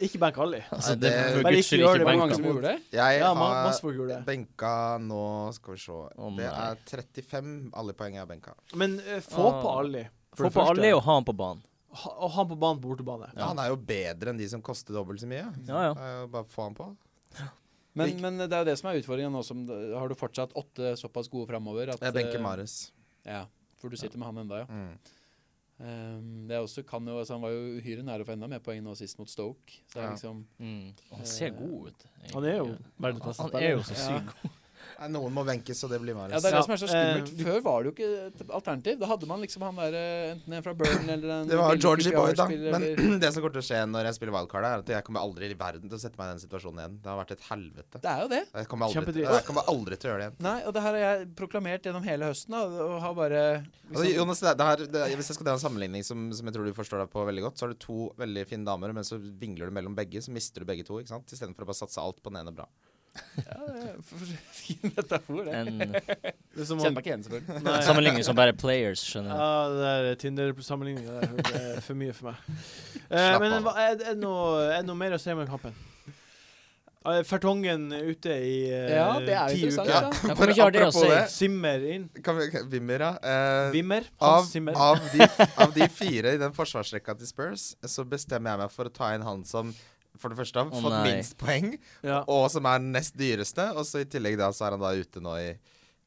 S1: Ikke bank Ali.
S2: Altså,
S4: det-
S2: det,
S1: Bare
S2: for
S1: ikke
S2: guds skyld,
S1: gjør det,
S2: ikke
S3: Hvor
S2: bank
S3: mange
S2: ham.
S3: som gjorde det?
S4: Jeg
S1: Ja, ma
S4: har
S1: masse folk gjorde det.
S4: benka nå Skal vi se.
S2: Å,
S4: det
S2: nei.
S4: er 35. Alle poeng er benka.
S1: Men eh, få på
S2: Ah.
S1: Ali. For
S2: Få
S1: det
S2: på
S1: første-
S2: Ali og ha han på banen.
S1: ha, og han på banen på bortebane.
S2: Ja.
S4: Han er jo bedre enn de som koster dobbelt så mye.
S2: Ja, ja.
S4: Det er jo Bare få han på.
S3: Men,
S4: Ikke-
S3: men det er jo det som er utfordringen nå som Har du fortsatt åtte såpass gode framover at
S4: Jeg benker
S3: eh,
S4: Marius.
S3: Ja, for du sitter med han enda, ja.
S4: Mm.
S3: Ehm, det er også, kan jo, altså, han var jo uhyre nær å få enda mer poeng nå sist mot Stoke. Så det er
S4: Ja.
S3: liksom
S2: Mm. Og Han ser
S3: Eh,
S2: god ut. egentlig.
S1: Han er jo verdens beste
S2: Han er jo så
S1: spiller.
S2: sykt god.
S4: Nei, Noen må benkes, og det blir
S3: Ja,
S4: Marius.
S3: det er
S1: Ja,
S3: det som er så skummelt.
S1: eh, du-
S3: Før var det jo ikke et alternativ. Da hadde man liksom han der eh, enten en fra Burn eller en
S4: Det var
S3: veldig
S4: Georgie Boy, da.
S3: QPR-spiller, eller-
S4: Men det som kommer til å skje når jeg spiller wildcard, er at jeg kommer aldri i verden til å sette meg i den situasjonen igjen. Det har vært et helvete.
S3: Det er jo det.
S4: Jeg kommer aldri, til,
S1: Kjempedritt.
S4: jeg kommer aldri til å gjøre det igjen.
S3: Nei, og det her har jeg proklamert gjennom hele høsten, da, og har bare
S4: Altså, Jonas, det, er- det her, det, er- hvis jeg skal dra en sammenligning som, som jeg tror du forstår deg på veldig godt, så har du to veldig fine damer, men så vingler du mellom begge, så mister du begge to, ikke sant? Istedenfor å bare satse alt på den ene bra.
S3: ja, det er for- for- Fin metafor,
S1: Eh,
S3: det.
S2: En
S1: Det er som
S3: Kjenner
S1: om
S3: meg ikke igjen, selvfølgelig.
S1: Nei.
S2: sammenligning som bare players, skjønner jeg.
S1: Ja, det der Tinder-sammenligninga der det er for mye for meg. Eh,
S4: Slapp
S1: men
S4: av.
S1: hva- er, er, det noe, er det noe mer å si om den kampen? Eh, Fertongen er ute i eh,
S3: Ja, det er jo
S1: ti
S3: interessant,
S1: uker.
S3: da.
S2: Ja, Hvor mye har det å si?
S4: apropos
S1: Simmer inn.
S4: det, kan vi, kan, Wimmer, ja. Eh,
S1: Vimmer.
S4: av,
S1: Hans Simmer.
S4: av, de, av de fire i den forsvarsrekka til Spurs, så bestemmer jeg meg for å ta inn han som for det første har
S2: Å,
S4: fått
S2: nei.
S4: minst poeng,
S1: Ja.
S4: og som er den nest dyreste. Og så i tillegg da, så er han da ute nå i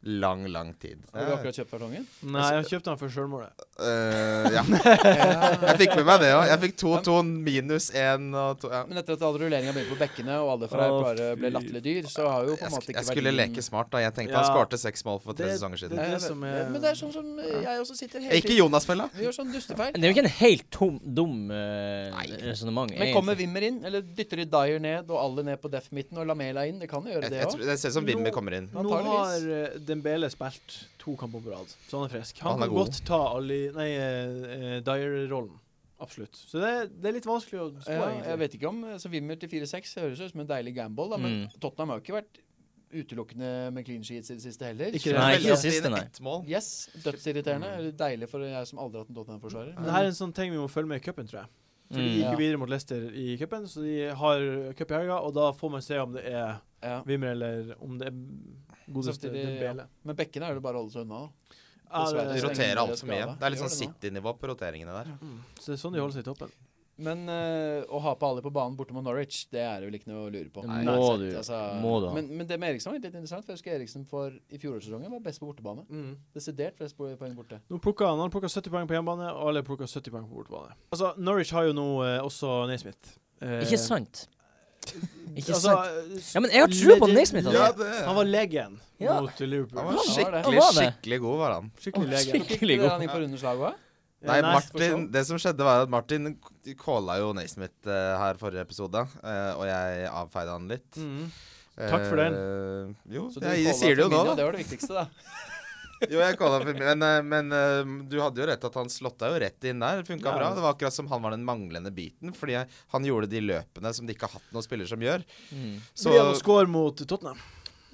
S4: lang, lang tid.
S3: Har du
S4: Eh,
S3: akkurat kjøpt kartongen?
S1: Nei, jeg kjøpte han for sjølmålet.
S4: eh, ja. Jeg fikk med meg det òg. Jeg fikk 2-2 minus 1 og 2 ja.
S3: Men etter at all rulleringa begynte på bekkene, og alle fra
S2: Å,
S3: bare ble
S2: fy
S3: latterlig dyr, så har jo på
S4: jeg,
S3: en
S4: sk
S3: måte ikke
S4: jeg skulle
S3: verdien-
S4: leke smart, da. Jeg tenkte
S1: Ja.
S4: han skårte seks mål for tre
S1: Det-
S4: sesonger
S1: det-
S4: siden.
S2: Eh,
S3: Ja, jeg
S1: er
S3: vet
S1: som
S3: det.
S1: er-
S3: Men det er sånn som eh, jeg også sitter hele
S4: Ikke Jonas-feil, da.
S3: Vi gjør sånn dustefeil.
S2: Men det er jo ikke en helt tom, dum uh, resonnement,
S3: Men kommer Wimmer inn, eller dytter de Dyer ned, og alle ned på deaf midten og Lamela inn? Det kan jo gjøre
S4: Jeg,
S3: det
S4: jeg,
S3: òg.
S4: tror- det ser ut som Wimmer
S1: Nå-
S4: kommer inn.
S1: Nå
S3: Antageligvis.
S1: har eh, Dembele spilt to kamper på rad, så han er frisk. Han,
S4: Han er
S1: kan
S4: god.
S1: godt ta Ali, nei, eh, eh, Dyer-rollen. Absolutt. Så det, det er litt vanskelig å spå,
S3: Ja, jeg
S1: egentlig.
S3: vet ikke om eh, så Wimmer til 4-6 høres ut som en deilig gamble, da, men
S2: Mm.
S3: Tottenham har jo ikke vært utelukkende med clean sheets i det siste heller.
S1: Ikke det.
S2: Nei,
S4: Veldig
S2: ikke det
S4: ofte
S2: siste,
S4: inn
S2: nei.
S4: ett mål.
S3: Yes, dødsirriterende. Eller deilig for jeg som aldri har hatt en Tottenham-forsvarer.
S1: Men det her er en sånn ting vi må følge med i cupen, tror jeg. For de
S2: Mm.
S1: gikk jo
S3: Ja.
S1: videre mot Leicester i cupen, så de har cup i helga, og da får man se om det er
S3: Ja.
S1: Wimmer eller om det er godeste
S3: Samtidig,
S1: Dembele.
S3: Men bekkene er det bare å holde seg unna. da.
S1: Ja, det,
S3: dessverre
S4: De
S1: er-
S4: roterer altfor mye.
S3: skade.
S4: Det er litt
S3: Gjør
S4: sånn
S3: det nå.
S4: City-nivå på roteringene der.
S1: Mm. Så det er sånn de holder seg i toppen.
S3: Men eh, å ha på alle på banen borte mot Norwich, det er det vel ikke noe å lure på.
S2: Det
S4: Nei,
S2: må
S3: Uansett,
S2: du gjøre.
S3: altså.
S2: Må du ha.
S3: Men, men det med Eriksen var litt interessant. For jeg husker Eriksen for i fjorårssesongen var best på bortebane. Desidert flest po- poeng borte.
S1: Nå plukker han, han plukker 70 poeng på hjemmebane, og alle plukker 70 poeng på bortebane. Altså, Norwich har jo nå eh, også Naismith. Eh,
S2: Ikke sant? Ikke
S1: altså,
S2: sant?
S1: eh, s-
S2: Ja, men jeg har trua på
S1: legit-
S2: Naismith, altså.
S4: Ja, det
S1: Han var legen
S2: Ja.
S1: mot Liverpool.
S4: Han
S3: Ja,
S4: var
S3: han var det.
S4: skikkelig,
S2: Han var det.
S4: skikkelig god, var han.
S1: Skikkelig
S2: Å,
S1: lege.
S2: skikkelig.
S3: Ikke det
S2: god.
S3: han gikk på rundeslaget også?
S1: Eh,
S4: Nei,
S1: nei,
S4: Martin, det som skjedde var at Martin calla jo Naismith eh, her forrige episode, eh, og jeg avfeide han litt.
S1: Mhm. Takk for
S4: Eh, jo,
S3: Så du
S4: jeg,
S3: callet
S4: sier det jo nå,
S3: Firmino,
S4: da.
S3: Det var det viktigste, da.
S4: Jo, jeg calla for Men, eh, men eh, du hadde jo rett at han slotta jo rett inn der. Funka
S1: Ja.
S4: bra. Det var akkurat som han var den manglende biten, fordi jeg, han gjorde de løpene som de ikke har hatt noen spiller som gjør.
S2: Mm.
S1: Så
S4: Så
S1: blir han å score mot Tottenham.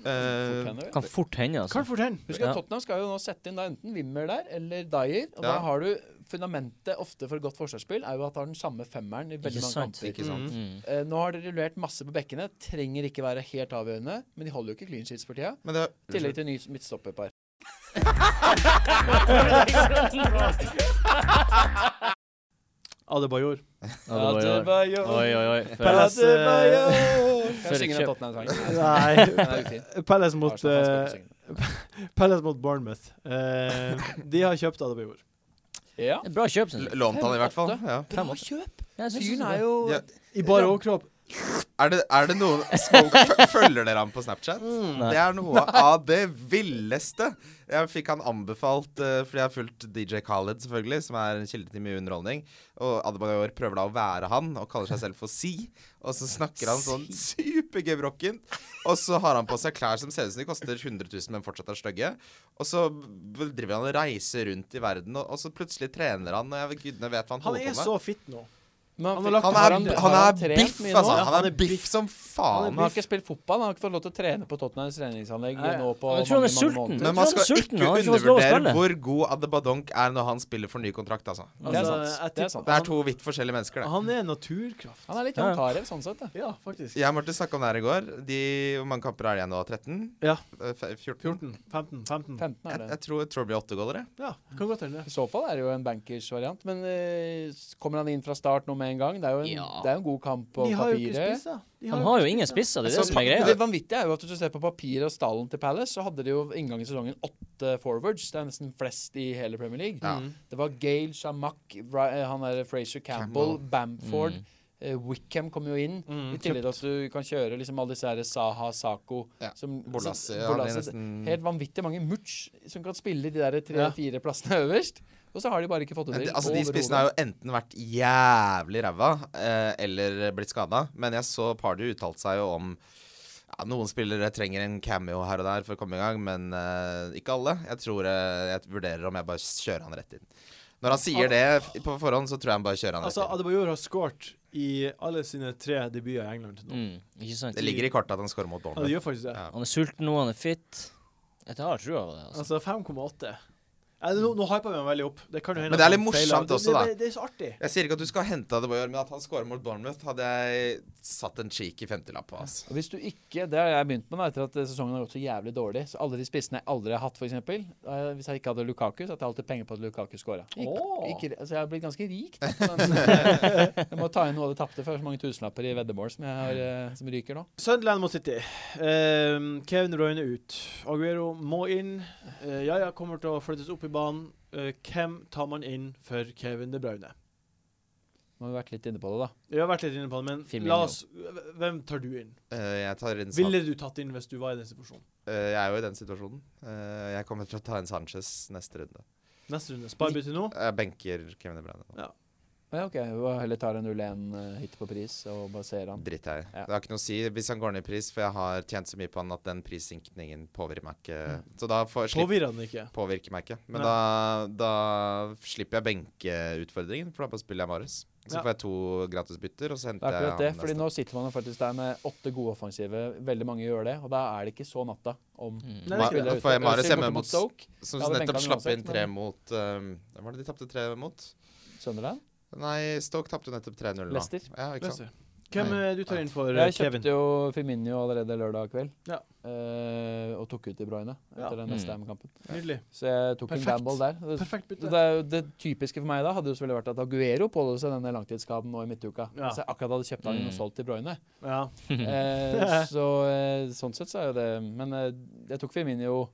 S1: Mm.
S4: eh,
S3: Fort hender.
S2: Kan fort hende, altså.
S1: Kan fortelle.
S3: Husk at
S2: Ja.
S3: Tottenham skal jo nå sette inn da enten Wimmer der eller Dyer. Og da
S4: Ja.
S3: har du fundamentet ofte for et godt forsvarsspill er jo at du har den samme femmeren i
S2: Ikke
S3: veldig mange
S2: sant?
S3: kamper.
S4: Ikke sant.
S2: Mm.
S3: Eh, nå har de rullert masse på bekkene. Trenger ikke være helt avgjørende, men de holder jo ikke clean sheets for tida.
S4: Men det
S3: I tillegg til ny midtstopperpar.
S1: Adebayor.
S2: Ja, det var,
S3: Adebayo,
S2: oi, oi, oi. For,
S1: Palace, eh,
S3: Adebayo.
S2: for et
S3: Jeg synger en
S2: kjøp.
S3: Tottenham-sang. Den er
S1: Nei.
S3: ufin.
S1: Palace mot,
S3: Arsenal-fans
S1: eh,
S3: kan ikke synge den.
S1: Palace mot Bournemouth. Eh, de har kjøpt Adebayor.
S3: Ja.
S2: et bra kjøp, synes jeg.
S4: Lånte han i hvert fall. Ja.
S3: Bra kjøp!
S2: jeg synes
S3: Fyren
S2: det.
S3: er jo
S4: Ja.
S1: I bare overkropp.
S4: Er, det, er det noen smoke, f- Følger dere ham på Snapchat?
S2: Nei.
S4: Det er noe av det villeste. Jeg fikk han anbefalt, eh, fordi jeg har fulgt DJ Khaled, selvfølgelig, som er en kilde til mye underholdning. Og Adebayor prøver da å være han, og kaller seg selv for Si. Og så snakker han sånn supergebrokkent. Og så har han på seg klær som ser ut som de koster 100 000, men fortsatt er stygge. Og så driver han og reiser rundt i verden, og, og så plutselig trener han, og jeg gudene vet hva han
S1: Han
S4: holder
S1: er
S4: på med.
S1: så fit nå.
S3: Men
S1: Han har lagt-
S4: Han
S3: har
S4: er,
S1: han-
S4: han
S3: har
S4: er
S3: trent
S4: biff,
S3: mye nå?
S4: altså.
S1: Ja,
S4: Han er biff som faen.
S3: Han har ikke spilt fotball. Han har ikke fått lov til å trene på Tottenhams treningsanlegg
S1: Nei,
S3: nå på
S2: jeg tror han er
S3: mange, mange
S2: sulten. Jeg
S3: måneder.
S4: Men
S2: tror han
S4: man
S2: er
S4: skal
S2: sulten,
S4: ikke
S2: han har ikke fått lov å
S4: undervurdere
S2: spille.
S4: hvor god Adebadonk er når han spiller for ny kontrakt, altså.
S3: Det er
S1: Altså,
S3: sant.
S1: jeg
S3: Det er
S1: tipper-
S3: sant.
S4: Det er to vidt forskjellige mennesker, det.
S1: Han er naturkraft.
S3: Han er litt
S2: Ja, ja.
S3: Jon Carew sånn sett, da.
S1: Ja, faktisk.
S4: Jeg og Martin snakka om det her i går. De, hvor mange kamper er det igjen nå? 13?
S1: Ja.
S4: Eh, fe- 14?
S1: 14, 15, 15.
S3: 15
S4: Jeg,
S3: er det.
S4: jeg, tror, jeg tror det blir åtte goller, jeg.
S1: Ja, kan godt hende. det.
S3: I så fall er det jo en bankers-variant. Men eh, s- kommer han inn fra start nå med en gang? Det er jo en,
S2: Ja.
S3: det er jo en god kamp på
S1: De har jo ikke
S3: papiret.
S1: spisser. De
S2: Han har jo
S1: ikke
S2: ingen
S1: spisser.
S2: spisser, det er det
S4: Altså,
S2: som er
S4: Ja.
S3: Det
S2: greia.
S3: vanvittige er jo at hvis du ser på papiret og stallen til Palace, så hadde de jo inngang i sesongen åtte forwards. Det er nesten flest i hele Premier League.
S4: Ja.
S1: Mm.
S3: Det var Gale, Shamak, Ra- eh, han der Frazier Campbell, Bamford,
S2: Mm.
S3: eh, Wickham kom jo inn.
S1: Mm,
S3: I tillegg til at du kan kjøre liksom alle disse her Saha, Sako
S4: Ja.
S3: som,
S4: Bolasie,
S3: som-
S4: han er
S3: Bolasie,
S4: nesten-
S3: Helt vanvittig mange mutch som kan spille i de der
S1: Ja.
S3: tre-fire plassene øverst. Og så har de bare ikke fått det til.
S4: Men de, altså, de spissene har
S3: overhodet.
S4: jo enten vært jævlig ræva eh, eller blitt skada. Men jeg så Pardy uttalte seg jo om ja, Noen spillere trenger en cameo her og der for å komme i gang, men eh, ikke alle. Jeg tror eh, jeg vurderer om jeg bare kjører han rett inn. Når han sier det f- på forhånd, så tror jeg han bare kjører han rett
S1: Altså,
S4: inn.
S1: Adebayor har skåret i alle sine tre debuter i England til nå.
S2: Mm. Ikke sant?
S4: Det ligger i kortet at han scorer mot
S1: Ja, det
S4: Bournemouth.
S1: gjør faktisk det.
S4: Ja.
S2: Han er sulten nå, han er fit. Jeg har trua på det, altså.
S1: Altså 5,8. Ja, nå, nå hyper vi ham veldig opp. Det kan jo hende
S4: Men det
S1: at
S4: er litt
S1: han feiler.
S4: morsomt
S1: Det-
S4: også, da.
S1: Det, det, det er så artig.
S4: Jeg sier ikke at du skal hente Adebayor, men at han scorer mot Bournemouth, hadde jeg satt en cheeky femtilapp på. Altså.
S3: Og Hvis du ikke, Det har jeg begynt med da, etter at eh, sesongen har gått så jævlig dårlig. Så Alle de spissene jeg aldri har hatt, f.eks. Hvis jeg ikke hadde Lukaku, så hadde jeg alltid penger på at Lukaku scora.
S1: Åh.
S3: Altså, jeg har blitt ganske rik. da, men, eh, Jeg må ta inn noe av det tapte, for det er så mange tusenlapper i veddemål som, jeg har, eh, som ryker nå.
S1: Sunderland mot City. Um, Kevin Royne ut. Aguero må inn. Uh, Jaja kommer til å flyttes opp i banen. Eh, hvem tar man inn for Kevin De Bruyne?
S3: Nå har vi vært litt inne på det, da.
S1: Vi har vært litt inne på det, men
S2: Firmino.
S1: la oss Hvem tar du inn?
S4: Eh, jeg tar inn San-
S1: Ville du tatt inn hvis du var i den situasjonen?
S4: Eh, jeg er jo i den situasjonen. Eh, jeg kommer til å ta inn Sanchez neste runde.
S1: Neste runde. Spar bytte nå.
S4: Jeg benker Kevin De Bruyne nå.
S3: Men ja, OK, vi må heller tar en 0-1-hytte på pris og baserer han.
S4: Driter jeg i.
S3: Ja.
S4: Det har ikke noe å si hvis han går ned i pris, for jeg har tjent så mye på han at den prissynkningen påvirker meg ikke.
S3: Mm.
S4: Så da får, slipper
S1: Påvirrer han ikke.
S4: påvirker meg ikke. Men
S1: Nei.
S4: da, da slipper jeg benkeutfordringen, for da bare spiller jeg Marius. Så
S1: Ja.
S4: får jeg to gratis bytter, og
S3: Det
S4: så
S3: er
S4: henter jeg
S3: akkurat det, fordi
S4: neste.
S3: nå sitter man jo faktisk der med åtte gode offensive. Veldig mange gjør det, og da er det ikke så natta om
S2: Mm.
S1: Nei, det er
S4: Ma-
S3: spillere
S1: ikke
S3: Altså,
S4: da
S1: det.
S4: får jeg
S3: ute.
S4: Marius
S3: Øzil
S4: hjemme
S3: borte
S4: mot
S3: mot Stoke.
S4: Som
S3: Ja, det benka
S4: nettopp
S3: han
S4: slapp inn
S3: uansett,
S4: tre
S3: men-
S4: mot um, Hvem var det de tapte tre mot?
S3: Sunderland?
S4: Nei, Stoke tapte jo nettopp 3-0 nå.
S3: Leicester.
S4: Ja, ikke sant?
S1: Leicester. Hvem eh, du tar inn for, eh,
S3: Jeg
S1: Kevin?
S3: kjøpte jo Firmino allerede lørdag kveld.
S1: Ja.
S3: Eh, og tok ut De Bruyne
S1: Ja.
S3: etter den
S2: Mm.
S3: neste Ham-kampen.
S1: Nydelig.
S3: Så jeg tok
S1: Perfekt.
S3: en gamble der. Det,
S1: Perfekt bytte.
S3: det, er jo- det typiske for meg da hadde jo selvfølgelig vært at Aguero pådro seg denne langtidsskaden nå i midtuka.
S1: Ja.
S3: Så jeg akkurat hadde kjøpt han inn og
S2: Mm.
S3: solgt De Bruyne.
S1: Ja.
S3: Eh, så eh, sånn sett så er jo det Men eh, jeg tok Firmino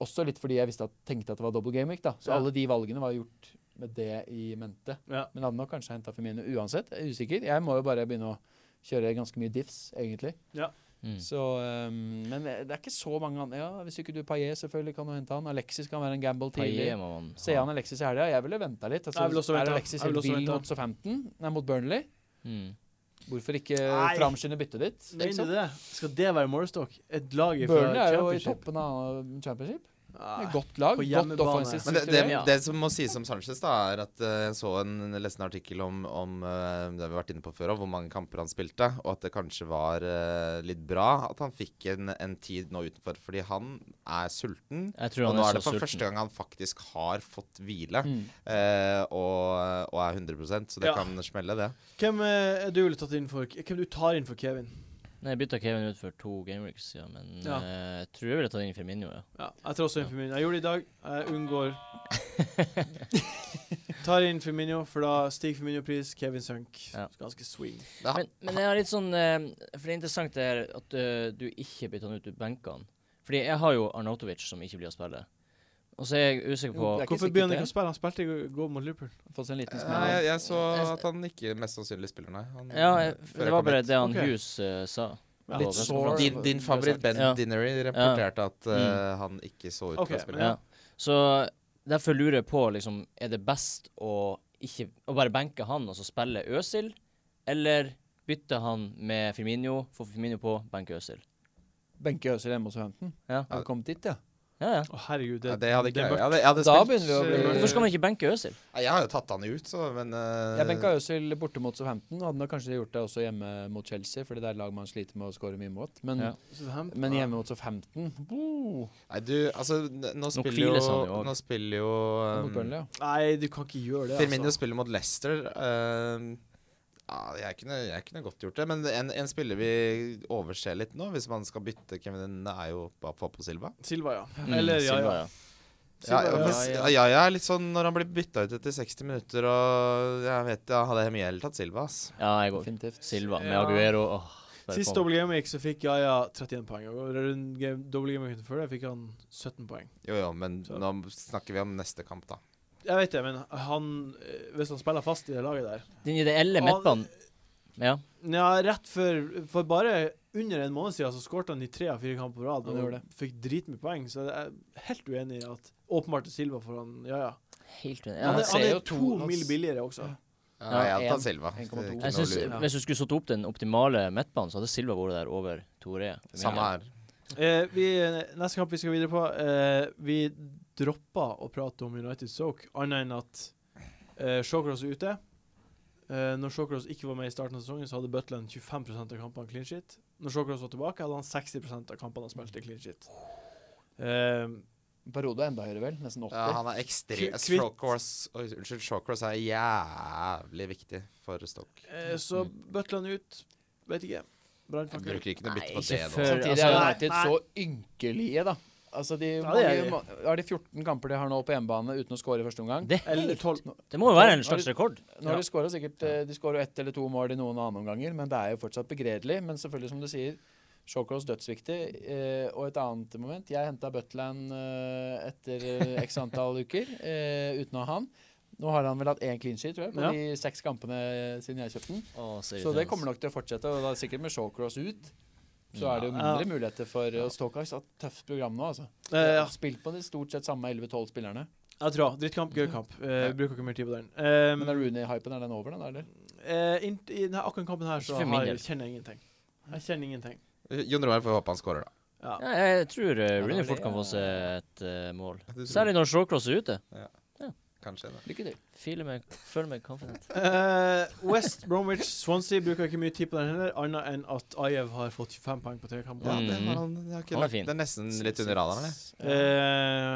S3: også litt fordi jeg visste at, tenkte at det var double game week, da. Så
S1: Ja.
S3: alle de valgene var gjort med det i mente.
S1: Ja.
S3: Men hadde nok kanskje henta Firmino uansett. Jeg er usikker. Jeg må jo bare begynne å kjøre ganske mye diffs, egentlig.
S2: Mm.
S3: Så, eh, men det er ikke så mange andre. Ja, hvis ikke du Paillet selvfølgelig kan du hente han. Alexis kan være en gamble tidlig.
S2: Paillet må man ha.
S3: Ser jeg han Alexis i helga? Jeg ville venta litt. Altså,
S1: Jeg vil også
S3: er
S1: vente.
S3: Alexis
S1: Jeg vil
S3: helt
S1: også
S3: vill
S1: vente.
S3: mot Southampton? Nei, mot Burnley?
S2: Mm.
S3: Hvorfor ikke
S1: Nei.
S3: framskynde byttet ditt?
S1: Mener
S3: liksom?
S1: du det? Skal det være målestokk? Et lag fra
S3: Burnley er jo i
S1: Championship?
S3: toppen av championship.
S1: Ah.
S3: Det er godt lag.
S1: på
S3: Godt
S1: hjemmebane.
S3: offensivt
S4: Men det, det,
S3: strukturert.
S2: Ja.
S4: det som må sies om Sanchez, da, er at eh, jeg så en leste en artikkel om, om eh, det vi har vært inne på før, om hvor mange kamper han spilte, og at det kanskje var eh, litt bra at han fikk en, en tid nå utenfor, fordi han er sulten.
S2: Jeg tror
S4: Og
S2: han er,
S4: nå er det
S2: så
S4: for
S2: sulten.
S4: første gang han faktisk har fått hvile,
S3: Mm.
S4: eh, og, og er 100 så det
S1: Ja.
S4: kan smelle, det.
S1: Hvem eh, er du ville tatt inn for Hvem du tar inn for Kevin?
S2: Nei, jeg bytta Kevin ut for to gameweeks siden, men
S1: Ja.
S2: eh, jeg tror jeg ville tatt inn Firmino, ja.
S1: Ja, jeg tar også inn Firmino. Jeg gjorde det i dag. Jeg unngår Tar inn Firmino, for da stiger Firmino-pris. Kevin sunk.
S2: Ja.
S1: Ganske swing.
S4: Ja.
S2: Men, men jeg har litt sånn eh, For det er interessant det her at eh, du ikke bytter han ut ut benkene. Fordi jeg har jo Arnautovic som ikke blir å spille. Og så er jeg usikker på
S3: Jo, det er ikke
S1: Hvorfor
S3: sikkert
S1: begynner
S3: det.
S1: han ikke å spille? Han spilte i går- går mot Liverpool.
S3: Fått seg en liten
S4: Eh, Nei, jeg,
S3: smell.
S4: jeg så
S2: Jeg-
S4: at han ikke mest sannsynlig spiller, nei. Han,
S2: Eh, Ja, jeg,
S4: før
S2: det var
S4: jeg kom
S2: bare
S4: hit.
S2: det han
S1: Ok.
S2: Hughes eh, sa.
S1: Ja. sånn.
S2: Litt
S3: Litt
S2: sår.
S3: sår.
S4: Din, din favoritt Ben
S2: Ja. Mm.
S4: Dinnery rapporterte at eh, han ikke så ut
S1: Ok,
S4: til å
S1: men
S4: spille.
S2: Ja. Så derfor lurer jeg på, liksom, er det best å ikke Å bare benke han og så spille Øsil, eller bytte han med Firmino, få Firmino på, benke Øsil?
S3: Benke Øzil hjemme hos Hampton.
S2: Ja.
S3: Har du kommet dit, ja?
S2: Ja, ja.
S1: Å, herregud. Det,
S4: Ja, det hadde
S1: det
S4: ikke
S1: er
S4: jeg. Jeg
S1: mørkt.
S4: hadde, jeg hadde
S3: Da
S4: spilt,
S3: begynner vi å bli-
S4: eh,
S2: Hvorfor skal man ikke benke Øsil?
S4: Nei, Jeg har jo tatt han ut, så, men eh,
S3: Jeg benka Øzil borte mot Southampton. og Hadde nok kanskje gjort det også hjemme mot Chelsea, fordi det er et lag man sliter med å skåre mye mot. Men,
S2: Ja.
S1: Så det hem-
S3: men hjemme mot Southampton Wow.
S4: Nei, du, altså n- Nå spiller
S2: kviles
S4: jo
S2: han jo også.
S4: Nå spiller jo
S3: Mot
S4: um,
S3: Burnley, ja.
S1: Nei, du kan ikke gjøre det.
S4: Firmino
S1: Altså.
S4: spiller mot Leicester. eh, ja, jeg, kunne, jeg kunne godt gjort det, men en, en spiller vi overser litt nå, hvis man skal bytte Kevin, er jo Papo Silva.
S1: Silva, ja.
S2: Mm,
S1: Eller ja,
S2: Silva,
S1: ja.
S4: Ja,
S1: Silva,
S4: ja,
S1: ja.
S4: men s- ja, ja, er litt sånn når han blir bytta ut etter 60 minutter og Jeg vet jeg hadde mye heller tatt Silva, ass.
S2: ja. jeg går
S3: Definitivt.
S2: Silva med
S1: Ja.
S2: Aguero. Åh, bare
S1: Sist
S2: faen.
S1: double game week så fikk Jaja 31 poeng. Og rundt game- double game weeken før det fikk han 17 poeng.
S4: Jo, jo, men
S1: Så-
S4: nå snakker vi om neste kamp, da.
S1: Jeg vet det, men han eh, Hvis han spiller fast i det laget der
S2: Din ideelle
S1: Ah,
S2: midtbanen Ja.
S1: Ja, rett før For bare under en måned siden så skåret han i tre av fire kamper på rad.
S3: Han gjorde
S1: Og fikk dritmye poeng, så jeg er helt uenig i at åpenbart er Silva foran Jaja.
S2: Helt enig.
S1: Ja, han,
S2: Ja,
S1: er- han
S3: ser
S1: er
S3: jo
S1: jo to,
S3: to- han
S1: mil
S3: s-
S1: billigere også.
S4: Ja, jeg hadde
S3: en-
S4: tatt Silva.
S3: 1,2.
S4: Det er ikke
S2: jeg
S4: noe å
S2: synes,
S4: lure
S1: lurt.
S2: Hvis du skulle satt opp den optimale midtbanen, så hadde Silva vært der over Tore.
S4: på. Samme her.
S1: Eh, vi, neste kamp vi skal videre på eh, Vi dropper å prate om United Soak, annet enn at eh, Shawcross er ute. Eh, når Shawcross ikke var med i starten av sesongen, så hadde Butland 25 av kampene clean shit. Når Shawcross var tilbake, hadde han 60 av kampene han spilte clean shit. Eh,
S3: Parode er enda høyere, vel? Nesten 80.
S4: Ja, han er ekstrem
S1: Kvitt-
S4: Shawcross Oi, Unnskyld, Shawcross er jævlig viktig for Stoke.
S1: eh, så Butland ut. Vet ikke.
S4: Jeg
S1: Brannfakkel.
S4: bruker ikke noe bytte
S2: Nei,
S4: på det
S2: ikke
S4: nå.
S2: før-
S3: Samtidig
S2: altså,
S3: er
S1: nei,
S3: United
S1: nei.
S3: så ynkelige, da. Altså, de,
S1: Ja, det
S3: mange,
S1: er de.
S3: ma- er det 14 kamper de har nå på hjemmebane uten å score i første omgang?
S2: Det,
S1: Eller 12.
S2: det må jo være en slags rekord.
S3: Nå har de skåra sikkert eh, De skårer ett eller to mål i noen andre omganger, men det er jo fortsatt begredelig. Men selvfølgelig, som du sier, Shawcross dødsviktig. Eh, og et annet moment Jeg henta Butland eh, etter eh, x antall uker eh, uten å ha han. Nå har han vel hatt én clean sheet, tror jeg, på
S1: Ja.
S3: de seks kampene siden jeg kjøpte den.
S2: Å,
S3: Så det kommer nok til å fortsette, og da sikkert med Shawcross ut. Så er det jo mindre muligheter for Og Stoke har et tøft program nå, altså.
S1: Eh, ja.
S3: Spilt på de stort sett samme 11-12 spillerne.
S1: Jeg tror Drittkamp, gøy kamp. Eh,
S4: Ja.
S1: Bruker ikke mer tid på den.
S3: Men er
S1: Eh,
S3: Rooney-hypen, er den over, den, da, eller?
S1: eh, inn- I denne akkurat kampen her så
S2: Ikke for min
S1: har,
S2: del.
S1: kjenner jeg ingenting. Jeg kjenner ingenting.
S4: Jon Roar får håpe han scorer, da.
S1: Ja.
S2: Ja, jeg tror eh,
S3: da
S2: Rooney
S3: var
S2: fort
S3: det,
S2: kan få
S3: ja.
S2: seg et eh, mål.
S4: Du tror-
S2: Særlig når Shawcross er ute.
S4: Kanskje det.
S3: Lykke til.
S2: Filer meg, føler meg confident.
S1: Eh, West Bromwich Swansea bruker ikke mye tid på den heller, annet enn at Ajev har fått 25 poeng på tre kamper.
S4: Ja, det,
S2: Mm.
S4: har han, det, har ikke
S2: Han er
S4: lagt,
S2: fin.
S4: det er nesten litt under radaren. det.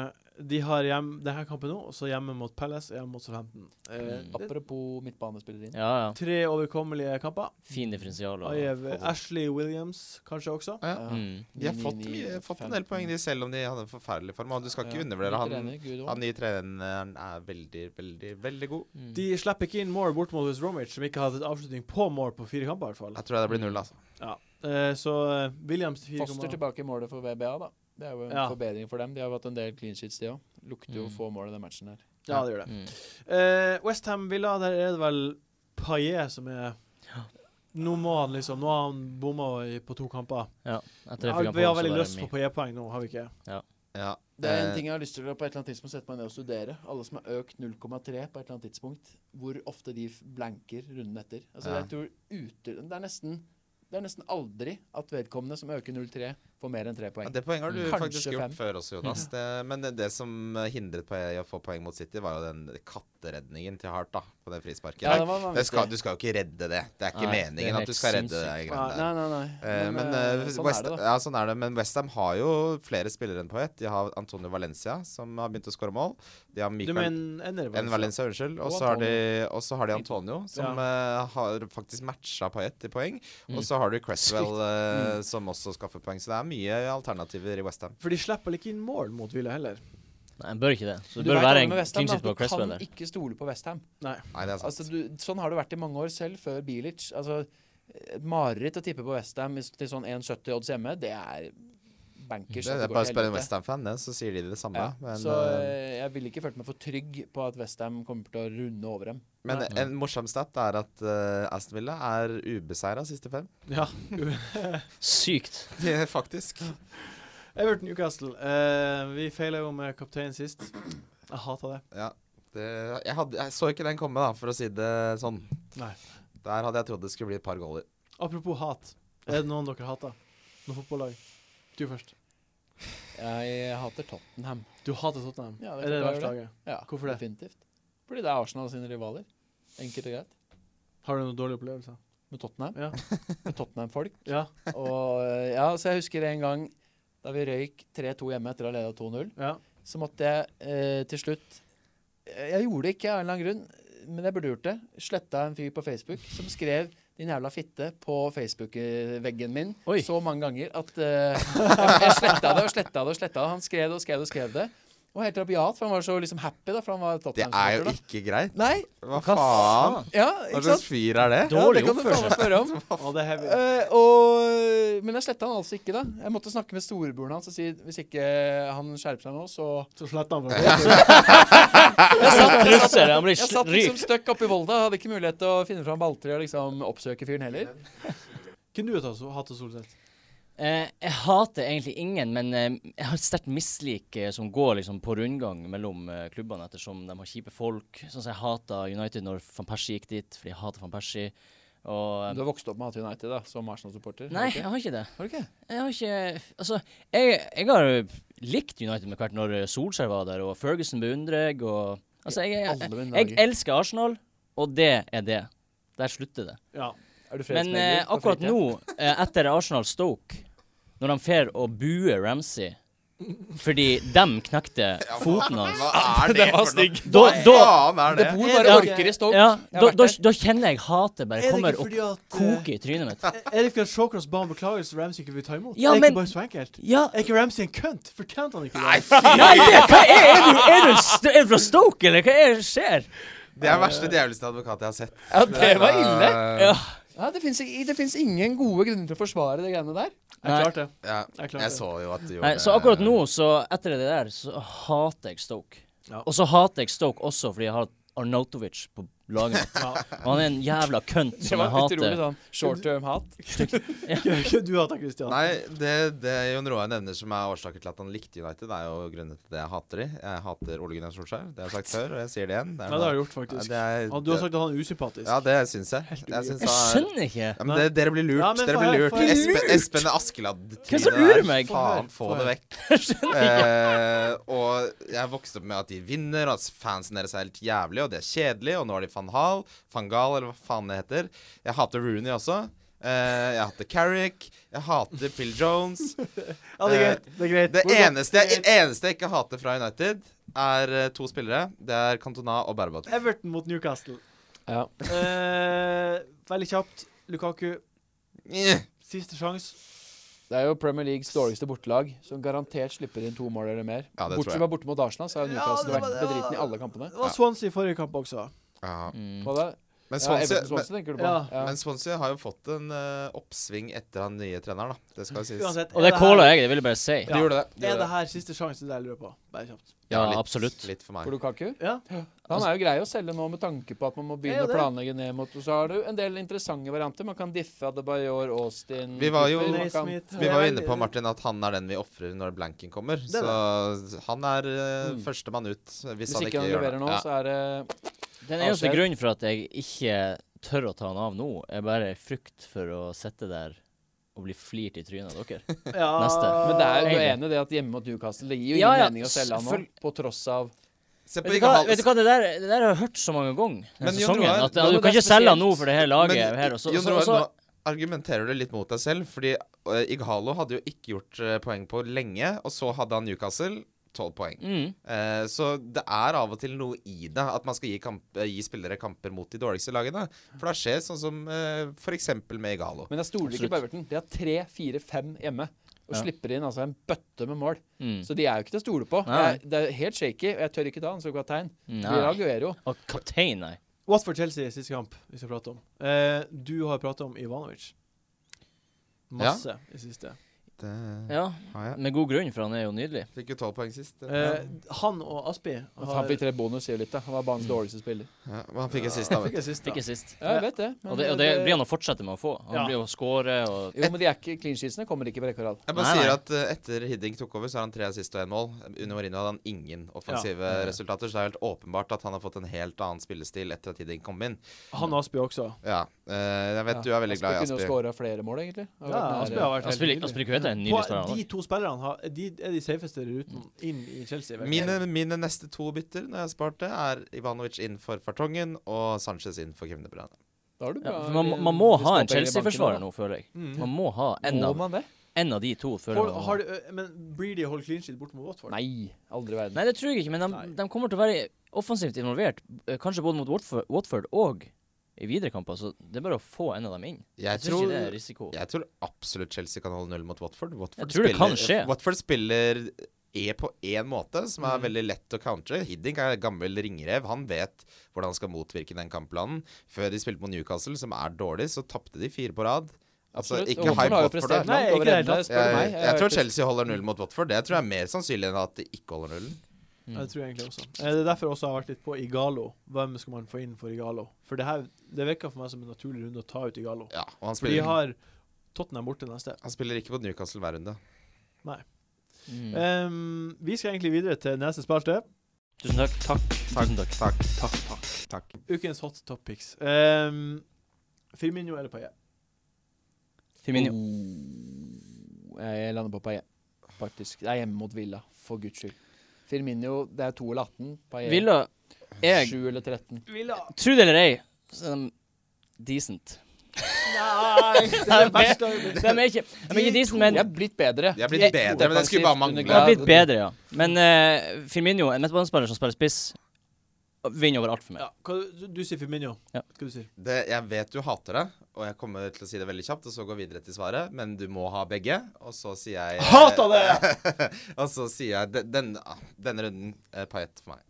S1: Eh, De har hjem, denne kampen nå, og så hjemme mot Palace og hjemme mot Southampton. Eh,
S2: Mm.
S1: det er
S3: Apropos midtbanespillere inn.
S2: Ja, ja.
S1: tre overkommelige kamper.
S2: Fin differensial. Og,
S1: Ajev, Ashley Williams kanskje også.
S4: Ja.
S3: Ja.
S2: Mm.
S4: De har
S3: Ni,
S4: fått,
S3: Eh, ni,
S4: mye,
S3: ni,
S4: fått
S3: fem.
S4: en del poeng, de, selv om de hadde en forferdelig form. Og du skal ikke
S3: Ja.
S4: undervurdere
S3: Ny
S4: han.
S3: trener, Gud, også.
S4: Han nye treneren er veldig, veldig, veldig god.
S2: Mm.
S1: De slipper ikke inn Moore bort mot West Bromwich, som ikke har hatt et avslutning på Moore på fire kamper. i hvert fall.
S4: Jeg tror det blir null, altså.
S1: Eh, så eh, Williams til
S3: Foster
S1: 4,5.
S3: tilbake i målet for VBA, da. Det er jo en
S1: Ja.
S3: forbedring for dem. De har jo hatt en del clean sheets, de òg. Lukter jo
S2: Mm.
S3: få mål i den matchen her.
S1: Ja, det gjør det.
S2: Mm.
S1: Eh, Westham Villa, der er det vel Paillet som er Nå må han liksom Nå har han bomma i- på to kamper.
S2: Etter det
S1: Ja,
S2: fikk han
S1: vi har
S2: på, så
S1: veldig
S2: var det
S1: lyst
S2: mi.
S1: på Paillet-poeng nå, har vi ikke?
S4: Ja.
S3: Det er en
S4: Eh,
S3: ting jeg har lyst til å på et eller annet tidspunkt sette meg ned og studere. Alle som har økt 0,3 på et eller annet tidspunkt. Hvor ofte de f- blanker runden etter. Altså,
S4: Ja.
S3: jeg tror ute, det, er nesten, det er nesten aldri at vedkommende som øker 0,3, får mer enn 3
S4: Ja,
S3: poeng. Mm.
S4: det poenget har du
S3: Kanskje
S4: faktisk gjort
S3: fem.
S4: før også, Jonas. Det, men det, det som hindret på å få poeng mot City, var jo den katteredningen til Hart da, på det frisparket.
S3: Ja, det var
S4: det
S3: vanvittig.
S4: skal, du skal jo ikke redde det. Det er ikke
S2: Nei, det er
S4: meningen
S2: helt
S4: at du skal redde det.
S2: sinnssykt.
S3: Nei,
S4: greiene der.
S3: nei, nei.
S4: Eh, Men,
S3: eh,
S4: eh,
S3: sånn
S4: West,
S3: er det, da.
S4: ja, sånn er det. Men Westham har jo flere spillere enn Poet. De har Antonio Valencia, som har begynt å skåre mål. De har
S1: Du
S4: Michael
S1: mener Ender?
S4: enn Valencia, unnskyld. Og så har, de- og så har de Antonio, som eh, har faktisk matcha Payet i poeng. Og så har du Cresswell, eh, som også skaffer poeng. Så det er mye alternativer i Westham.
S1: For de slipper vel ikke inn mål mot Villa heller.
S2: Nei, en bør ikke det. Så det
S3: Men du
S2: bør
S3: vet
S2: være
S3: alle
S2: en
S3: med West Ham,
S2: clean sheet
S3: da,
S2: på Cresswell.
S3: Du kan ikke stole på Westham.
S4: Nei, det er sant.
S3: Altså, du, sånn har det vært i mange år selv, før Bilic. Altså, et mareritt å tippe på Westham til sånn 1,70 odds hjemme, det er
S4: det,
S3: bankers. sånn at
S4: det er
S3: går
S4: bare å
S3: til
S4: spørre en
S3: helvete.
S4: Westham-fan, det, så sier de det samme.
S3: Ja,
S4: Men,
S3: så
S4: eh,
S3: eh, jeg ville ikke følt meg for trygg på at Westham kommer til å runde over dem.
S4: men
S1: nei.
S4: en morsom stat er at eh, Aston Villa er ubeseira siste fem.
S1: Ja.
S2: Sykt.
S4: Faktisk.
S1: Everton Newcastle. Eh, vi feila jo med kapteinen sist. Jeg hater det.
S4: Ja. Det, jeg, hadde, jeg så ikke den komme, da, for å si det sånn.
S1: Nei.
S4: Der hadde jeg trodd det skulle bli et par goaler.
S1: Apropos hat. Er det noen dere hater? Noe fotballag? Du først.
S3: Jeg hater Tottenham.
S1: Du hater Tottenham.
S3: Ja, det
S1: er det det
S3: forklarer
S1: verste laget?
S3: Ja,
S1: Hvorfor det?
S3: Definitivt. Fordi det er Arsenal sine rivaler. Enkelt og greit.
S1: Har du noen dårlige opplevelser?
S3: Med Tottenham.
S1: Ja.
S3: Med Tottenham-folk.
S1: Ja.
S3: Og eh, ja, så jeg husker en gang da vi røyk 3-2 hjemme etter å ha leda 2-0.
S1: ja.
S3: så måtte jeg eh, til slutt eh, Jeg gjorde det ikke av en eller annen grunn, men jeg burde gjort det. Sletta en fyr på Facebook som skrev 'din jævla fitte' på Facebook-veggen min
S2: Oi.
S3: så mange ganger at eh, jeg, jeg sletta det og sletta det og sletta det. Han skrev det og skrev det og skrev det. Og helt rabiat, for han var så liksom happy, da, for han var
S4: Det er jo
S3: Tottenham-supporter. da.
S4: ikke Altså, greit.
S3: Nei,
S4: Hva faen?
S3: ja,
S4: Hva
S3: ikke
S4: slags
S3: sant?
S4: fyr er det?
S3: Ja, det
S2: Dårlig
S3: kan du faen meg spørre om.
S1: Og det er heavy.
S3: Eh, og, men jeg sletta han altså ikke, da. Jeg måtte snakke med storebroren hans og si hvis ikke han skjerper seg nå, så
S1: Så sletter han bare.
S2: Jeg satt krysser. Han blir
S3: Jeg satt
S2: sl-
S3: liksom
S2: rykt.
S3: støkk oppe i Volda, hadde ikke mulighet til å finne fram balltre og liksom oppsøke fyren heller.
S1: Kunne du hatt hatt det, Solseth?
S2: Eh, jeg hater egentlig ingen, men eh, jeg har et sterkt mislik eh, som går liksom på rundgang mellom eh, klubbene, ettersom de har kjipe folk. Sånn som jeg hata United når van Persie gikk dit, fordi jeg hater van Persie. Og eh,
S3: Du har vokst opp med Hat United da, som Arsenal-supporter?
S2: Nei, jeg
S3: har du ikke?
S2: har ikke det.
S3: Har du ikke?
S2: Jeg har ikke Altså, jeg, jeg har eh, likt United med hvert når eh, Solskjær var der, og Ferguson beundrer jeg, og Altså, jeg, jeg,
S3: Alle mine
S2: Jeg
S3: dager.
S2: elsker Arsenal, og det er det. Der slutter det.
S1: Ja.
S3: Er
S2: Men
S3: du fredsmegler
S2: eh,
S3: på
S2: akkurat
S3: fritida?
S2: nå, eh, etter Arsenal Stoke, når de fer og buer Ramsey fordi dem knekte foten hans
S4: Hva er det,
S3: var
S4: for noe?
S3: stygg.
S2: Da,
S4: Hva
S2: da,
S4: faen er det?
S3: Det bor
S1: Er
S3: bare
S1: det-
S3: orker i Stoke.
S2: ja,
S3: Jeg har
S2: da,
S3: vært
S2: da,
S3: der.
S2: da kjenner jeg hatet bare
S1: Er det
S2: kommer
S1: ikke
S2: og
S1: fordi at eh,
S2: koker i trynet mitt.
S1: Er det ikke fordi at Shawcross ba om beklagelse og Ramsey ikke vil ta imot?
S2: Ja,
S1: er det
S2: men-
S1: ikke bare så enkelt?
S2: Ja,
S1: Er ikke Ramsey en kønt? Fortjente han ikke
S4: Nei,
S1: det?
S4: fy!
S2: Nei, det, hva er, er, du, er, du, st- er du fra Stoke, eller hva er det som skjer?
S4: Det er verste djevelste advokat jeg har sett. Eh,
S3: Ja, det var ille.
S2: Ja.
S3: Ja, det fins det finnes ingen gode grunner til å forsvare de greiene der.
S1: Jeg klarte det.
S4: Ja,
S1: Jeg klarte det.
S4: jeg så jo at du gjorde
S2: Nei, så akkurat nå, så etter det der, så hater jeg Stoke.
S1: Ja.
S2: Og så hater jeg Stoke også fordi jeg har Arnautovic på laget mitt.
S1: Ja.
S2: Og han er en jævla kønt
S3: Det
S2: som jeg
S3: var utrolig
S2: hater.
S3: sånn short term hat.
S1: Gjør ikke du hatt det, Christian?
S4: Nei, det, det Jon Roar nevner som er årsaker til at han likte United, er jo grunnen til det jeg hater de. Jeg hater Ole Gunnar Solskjær. Det har jeg sagt før, og jeg sier det igjen.
S1: Nei,
S4: Det er
S1: det
S4: noe-
S1: har du gjort, faktisk.
S4: Ja, det er-
S1: Ja, du har sagt at han er usympatisk.
S4: Ja, det syns jeg. jeg, syns
S2: Jeg
S4: han er-
S2: skjønner ikke.
S4: ja, men det, dere blir lurt.
S1: Ja, men
S4: dere
S1: få
S4: blir
S1: høre,
S4: lurt.
S1: få høre.
S4: Espen, Espen Askeladd.
S2: Hvem som
S4: Trine der.
S2: lurer meg?
S4: Faen,
S1: Få
S4: få
S1: høre,
S4: det vekk. Eh, og jeg vokste opp med at de vinner, og at fansen deres er helt jævlig, og det er kjedelig, og nå har de van Hal, van Gaal, eller hva faen det heter. Jeg hater Rooney også. Eh, jeg hater Carrick. Jeg hater Phil Jones.
S1: Ja, det er greit. Det er greit.
S4: Det
S1: Hvor går-
S4: eneste, jeg- eneste jeg ikke hater fra United, er eh, to spillere. Det er Cantona og Berbat.
S1: Everton mot Newcastle.
S3: Ja.
S1: Eh, veldig kjapt. Lukaku, siste sjanse.
S3: Det er jo Premier Leagues dårligste bortelag, som garantert slipper inn to mål eller mer.
S4: Ja, det tror
S3: Bortsett
S4: jeg.
S3: fra borte mot Arsenal, så har jo
S1: Ja, det
S3: Newcastle
S1: var-
S3: vært
S1: det var-
S3: bedriten i alle kampene.
S1: Det var
S4: Ja.
S1: Swansea i forrige kamp også.
S4: Ja.
S2: Mm.
S3: Hva da?
S4: Men
S3: Ja,
S4: Swansea,
S3: Everton
S4: men,
S3: Swansea tenker du på?
S1: Ja.
S3: Ja.
S4: men sånn- Swansea har jo fått en eh, oppsving etter han nye treneren, da. Det skal jo sies.
S1: Uansett.
S2: Og det
S1: er
S2: caller
S1: her-
S2: jeg, det vil jeg bare si.
S4: De gjorde det. De
S1: Er
S4: gjorde
S1: det her siste sjanse det jeg lurer på? Bare kjapt.
S2: Ja,
S4: litt,
S2: absolutt.
S4: Litt for meg.
S3: For Lukaku?
S1: Ja.
S3: Han er jo grei å selge nå med tanke på at man må begynne
S1: Ja,
S3: å
S1: det.
S3: planlegge ned mot Og så har du en del interessante varianter. Man kan diffe Adebayor, Austin
S4: Vi var jo-
S3: Cooper, man kan-
S1: Naismith.
S4: Vi var jo inne på Martin at han er den vi ofrer når blanken kommer.
S1: er
S4: Så han er uh,
S3: Mm.
S4: førstemann ut hvis,
S3: Hvis
S4: han
S3: ikke
S4: ikke
S3: han
S4: gjør
S3: leverer
S4: det.
S3: nå,
S4: Ja.
S3: så er det
S2: Den eneste
S3: Avskjed.
S2: grunnen for at jeg ikke tør å ta han av nå, er bare frykt for å sitte der og bli flirt i trynet av dere.
S1: ja.
S2: Neste.
S3: Men det er jo du er
S2: Egentlig.
S3: enig i det at hjemme mot Newcastle Det gir jo ingen
S2: Ja, ja,
S3: mening å selge han nå,
S2: selvfølgelig.
S3: på tross av
S4: Se på
S2: Vet du
S4: ikke
S2: hva,
S4: halv-
S2: vet du hva det, der, det der har jeg hørt så mange ganger
S4: Men
S2: denne
S4: Jon
S2: sesongen.
S4: Roar,
S2: At
S4: ja,
S2: ja, du
S3: men
S2: kan
S3: det er
S2: ikke selge han nå
S3: spesielt.
S2: for det her laget
S4: Men,
S2: her. Altså, Og så,
S4: Jon
S2: så,
S4: Roar,
S2: så,
S4: nå argumenterer du litt mot deg selv, fordi eh, Ighalo hadde jo ikke gjort eh, poeng på lenge, og så hadde han Newcastle 12 poeng.
S2: mm,
S4: Eh, så det er av og til noe i det, at man skal gi, kamp, eh, gi spillere kamper mot de dårligste lagene. For da skjer sånn som eh, for eksempel med Igalo.
S3: Men jeg stoler ikke
S2: Absolutt.
S3: på Everton. De har tre, fire, fem hjemme. Og
S2: Ja.
S3: slipper inn altså en bøtte med mål.
S2: mm.
S3: Så de er jo ikke til å stole på.
S2: Nei.
S3: Jeg, det er helt shaky, og jeg tør ikke ta han som kaptein. Det blir
S2: Nei.
S3: Aguero.
S2: Og kaptein, nei.
S1: Watford-Chelsea i siste kamp vi skal prate om. Eh, du har prata om Ivanovic. Masse i siste.
S4: Det
S2: Ja,
S4: har jeg.
S2: med god grunn, for han er jo nydelig.
S4: Fikk jo 12 poeng sist. det-
S1: Eh, han og Aspi
S3: At han
S1: har
S3: fikk tre bonus, sier jo litt. da. Han var banens
S4: Mm.
S3: dårligste spiller.
S4: ja, men han fikk jo sist, da.
S1: Fikk
S4: Vet.
S1: jeg sist, da.
S2: Ikke sist.
S3: Ja, jeg vet det. men
S2: Og det, og det blir han å fortsette med å få. Han
S1: Ja.
S2: blir å score og
S3: Jo, men de er ikke clean sheetsene kommer ikke på rekke og rad.
S4: Jeg bare
S2: Nei, nei.
S4: sier at eh, etter Hiddink tok over, så har han tre assist og én mål. Under Marino hadde han ingen offensive
S2: Ja.
S4: resultater, så det er helt åpenbart at han har fått en helt annen spillestil etter at Hiddink kom inn.
S1: Han og Aspi også.
S4: Ja, eh, Jeg vet
S3: Ja,
S4: du er veldig glad i
S3: Aspi. Kunne jo
S4: Aspi.
S3: skåra flere mål, egentlig. Har
S1: Ja,
S3: vært
S1: Aspi
S3: nære.
S1: har vært helt
S2: Aspille
S1: nydelig.
S2: Kveta er en
S1: På,
S2: nydelig spiller. han
S1: de
S2: også.
S1: to spillerne har, de er de safeste ruten inn i Chelsea. vel?
S4: Mine, mine neste to bytter når jeg har spart det, er Ivanovic inn for Fartongen og Sanchez inn for Kevin De Bruyne.
S3: Da har du
S2: Ja,
S3: bra-
S2: for man, man må
S3: du
S2: ha
S3: sparer
S2: en
S3: penger i
S2: Chelsea-forsvarer
S3: banken
S2: nå, føler jeg.
S1: Mm.
S2: Man må ha en
S3: Må
S2: av,
S3: man det?
S2: en av de to. Føler
S1: Hold-
S2: jeg man må ha.
S1: har du, eh, men blir de holdt clean sheet borte mot Watford?
S3: Nei, aldri i
S4: Altså,
S3: verden.
S2: Nei, det tror jeg ikke, men de,
S1: Nei.
S2: de kommer til å være offensivt involvert. eh, Kanskje både mot Watford, Watford og i videre kamper, så det er bare å få en av dem inn.
S4: Jeg
S2: Jeg tror ikke det
S4: tror
S2: er risiko.
S4: Jeg tror absolutt Chelsea kan holde null mot Watford. Watford
S2: Jeg tror det kan skje.
S4: Watford spiller E på én måte, som er
S1: Mm.
S4: veldig lett å countre. Hiddink er gammel ringrev. Han vet hvordan han skal motvirke den kampplanen. Før de spilte mot Newcastle, som er dårlig, så tapte de fire på rad. Altså,
S3: Absolutt.
S4: ikke
S3: Og Watford har
S4: hype
S3: jo
S4: Watford
S3: prestert
S4: der.
S1: Nei,
S3: langt over
S1: ikke det hele
S3: evne,
S1: tatt.
S3: spør du
S4: Jeg,
S3: meg.
S4: jeg,
S3: Jeg
S4: tror
S3: vet ikke.
S4: Chelsea holder null mot Watford. Det tror jeg er mer sannsynlig enn at de ikke holder nullen.
S2: Mm.
S1: Ja, Det tror jeg egentlig også. Eh, Det er derfor jeg også har vært litt på Igalo. Hvem skal man få inn for Igalo? For det her, det virker for meg som en naturlig runde å ta ut Igalo.
S4: Ja, og han
S1: For de
S4: spiller,
S1: har Tottenham borte neste.
S4: han spiller ikke mot Newcastle hver runde.
S2: Mm.
S1: Ehm, vi skal egentlig videre til neste spalte.
S2: Tusen takk. Takk. Tusen takk.
S4: Takk, takk, takk. takk.
S1: Ukens hot topics. Um, Firmino eller Paillet?
S2: Firmino.
S3: Oh, Jeg lander på Paillet, faktisk. Det er hjemme mot Villa, for guds skyld. Firmino, det er 2 eller 18. Paillet
S2: Villa Jeg
S3: 7 eller 13.
S2: Tro det eller ei, så er de decent.
S1: Nei! Det er det verste jeg har
S2: De
S1: gjort.
S2: er ikke, de er ikke decent, men
S3: De er blitt bedre.
S4: De er blitt
S3: Jeg-
S4: bedre, men det skulle bare mangle.
S2: De har
S3: Defensivt
S2: blitt
S3: under-
S2: bedre, ja. Men eh, Firmino, en midtbanespiller som spiller spiss, vinner over alt for meg.
S1: Ja, hva, du, du sier Firmino.
S2: Ja.
S1: Hva du sier
S4: Det, jeg vet du hater det, og jeg kommer til å si det veldig kjapt, og så gå videre til svaret, men du må ha begge, og så sier jeg eh,
S1: Hater det!
S4: og så sier jeg de- den, ah, denne runden eh, paillett for meg.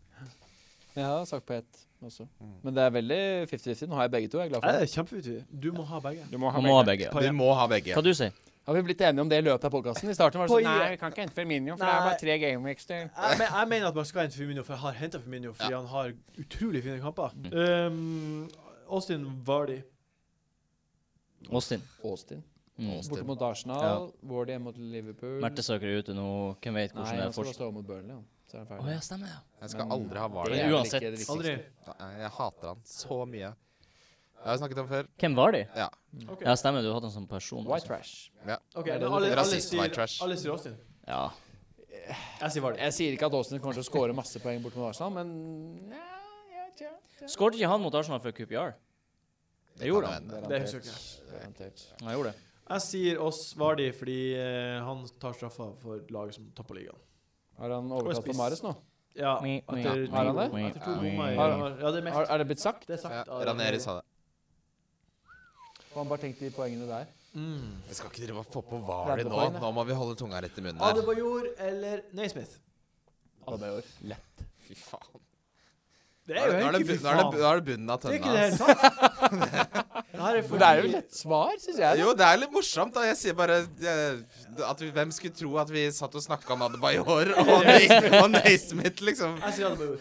S3: Jeg har sagt Paillet også.
S4: Mm.
S3: Men det er veldig 50-50. Nå har jeg begge to. Jeg er glad for
S1: Nei,
S3: det.
S1: det er kjempeutydelig. Du må ha begge.
S3: Du må
S2: Han må ha begge. ja.
S4: Du må ha begge.
S2: Hva du sier
S3: Har vi blitt enige om det i løpet av podkasten? I starten var det sånn
S1: Paillet.
S3: Nei, vi kan ikke hente Firmino, for det er
S1: Nei.
S3: bare tre gameweeks til.
S1: Jeg, men, jeg mener at man skal hente Firmino, for jeg har henta Firmino fordi han har utrolig fine kamper. Um, Austin Vardy.
S2: Austin.
S3: Austin.
S2: Mm.
S4: Austin.
S3: Borte mot Arsenal. Wardy hjemme mot Liverpool.
S2: Mertesaker er ute nå. Hvem vet hvordan
S3: Nei,
S2: det
S3: han
S2: er
S3: skal
S2: fortsatt?
S3: stå mot Burnley, han. Så er han
S2: Å
S3: ferdig.
S2: ja, stemmer, ja.
S4: Jeg skal
S3: Men-
S4: aldri ha
S3: Det
S4: Hvaler.
S3: er
S4: Jeg,
S3: vel
S2: uansett.
S3: ikke det viktigste.
S1: Aldri.
S4: eh, jeg hater han så mye. Jeg har snakket om før.
S2: Hvem var de?
S4: Ja.
S1: Ok.
S2: Ja, stemmer, du hadde han som person. altså.
S3: White
S2: Også.
S3: trash.
S1: Ok,
S3: Nei,
S1: men
S3: det er
S1: alle, alle,
S4: rasist, white
S1: sier,
S4: trash.
S1: alle sier Austin.
S2: Ja.
S1: Jeg sier Vardy.
S3: Jeg sier ikke at Austin kommer til å skåre masse poeng bort mot Arsenal, men Nei, jeg vet ikke.
S2: Skåret ikke han mot Arsenal for QPR? Det gjorde
S4: kan
S2: han.
S4: hende.
S1: Det husker jeg
S3: Garantert.
S2: Han gjorde det.
S1: Jeg sier oss Vardi fordi eh, han tar straffa for laget som tapper ligaen.
S3: Har han
S1: Og
S3: overtalt
S1: spiss.
S3: Amares nå?
S1: Ja,
S2: Mi, mi,
S1: etter,
S3: mi, Har han det? Ah,
S1: to- etter to
S2: mi,
S1: bommer i
S2: mi.
S3: Har han-
S1: januar. Ja, det er
S3: Har,
S1: meldt.
S3: er det blitt sagt?
S1: Det er sagt.
S4: Ja,
S1: av
S4: Raneri sa det.
S3: Og han bare tenkte de poengene der.
S1: Mm.
S4: Vi skal ikke drive og få på Vali nå.
S3: Radiopoeng, da.
S4: Nå må vi holde tunga rett i munnen her.
S1: Adebayor eller Naismith?
S3: Adebayor.
S4: Fy faen.
S1: Det
S4: Nå
S1: er
S4: er
S1: jo
S4: det, nå er det,
S1: egentlig
S4: bu-
S1: fy
S4: nå er det, bu-
S1: faen.
S4: nå er det bunnen av
S1: Det er
S4: tønna.
S1: ikke det
S4: ass.
S1: hele tatt. Det her er
S3: For det er jo
S1: fordi-
S3: lett svar, syns jeg.
S4: Jo, det er litt morsomt. da. Jeg sier bare eh, at vi, Hvem skulle tro at vi satt og snakka om Adebayor og Nais- og Naismith, liksom?
S1: Jeg sier Adebayor.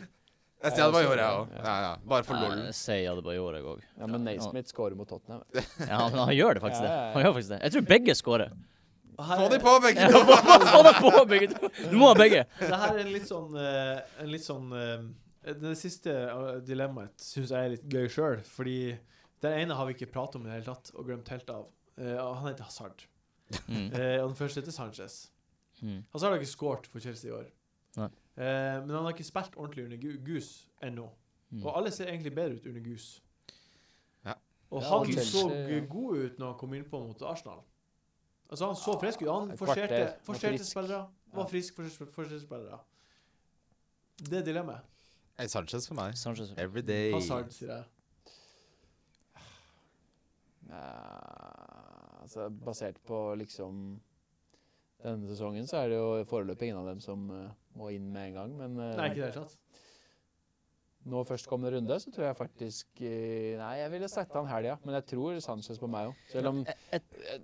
S4: Jeg sier Adebayor, jeg òg. Ja, ja. Bare for
S2: Nei,
S4: lol.
S2: Si Adebayor, jeg òg.
S3: Ja, Men Naismith scorer mot Tottenham.
S2: Ja, han, han gjør det faktisk det.
S3: Ja, ja, ja.
S2: Han gjør faktisk det. Jeg tror begge scorer.
S1: Og her
S4: Få
S1: er-
S4: de på, begge to!
S2: Få deg på, begge to! Du må ha begge.
S1: Det her er en litt sånn, eh, en litt sånn eh, Det siste eh, dilemmaet syns jeg er litt gøy sjøl. Fordi den ene har vi ikke pratet om i det hele tatt, og glemt helt av. Eh, og han heter Hazard.
S2: Mm.
S1: Eh, og den første heter Sanchez.
S2: Mm.
S1: Hazard har ikke scoret for Chelsea i år.
S2: Nei.
S1: Eh, men han har ikke spilt ordentlig under Gu- Gus ennå.
S2: mm.
S1: Og alle ser egentlig bedre ut under Gus.
S4: Ja.
S1: Og
S3: Ja, og
S1: han
S3: Chelsea,
S1: så
S3: ja.
S1: god ut når han kom innpå mot Arsenal. Altså Han så frisk ut. Han
S3: Ah, Et
S1: forserte,
S3: kvarter, var
S1: forserte
S3: frisk.
S1: spillere.
S3: Ja.
S1: Var frisk, forserte forserte spillere. Det er dilemmaet.
S4: Eh, Sanchez for meg.
S2: Sanchez.
S4: Every day.
S1: Hazard, sier jeg.
S3: Ja, altså, basert på liksom denne sesongen, så er det jo foreløpig ingen av dem som eh, må inn med en gang. Men eh,
S1: Nei, ikke i det hele tatt.
S3: nå førstkommende runde, så tror jeg faktisk eh, Nei, jeg ville sette han helga, men jeg tror Sanchez på meg òg. Selv om eh,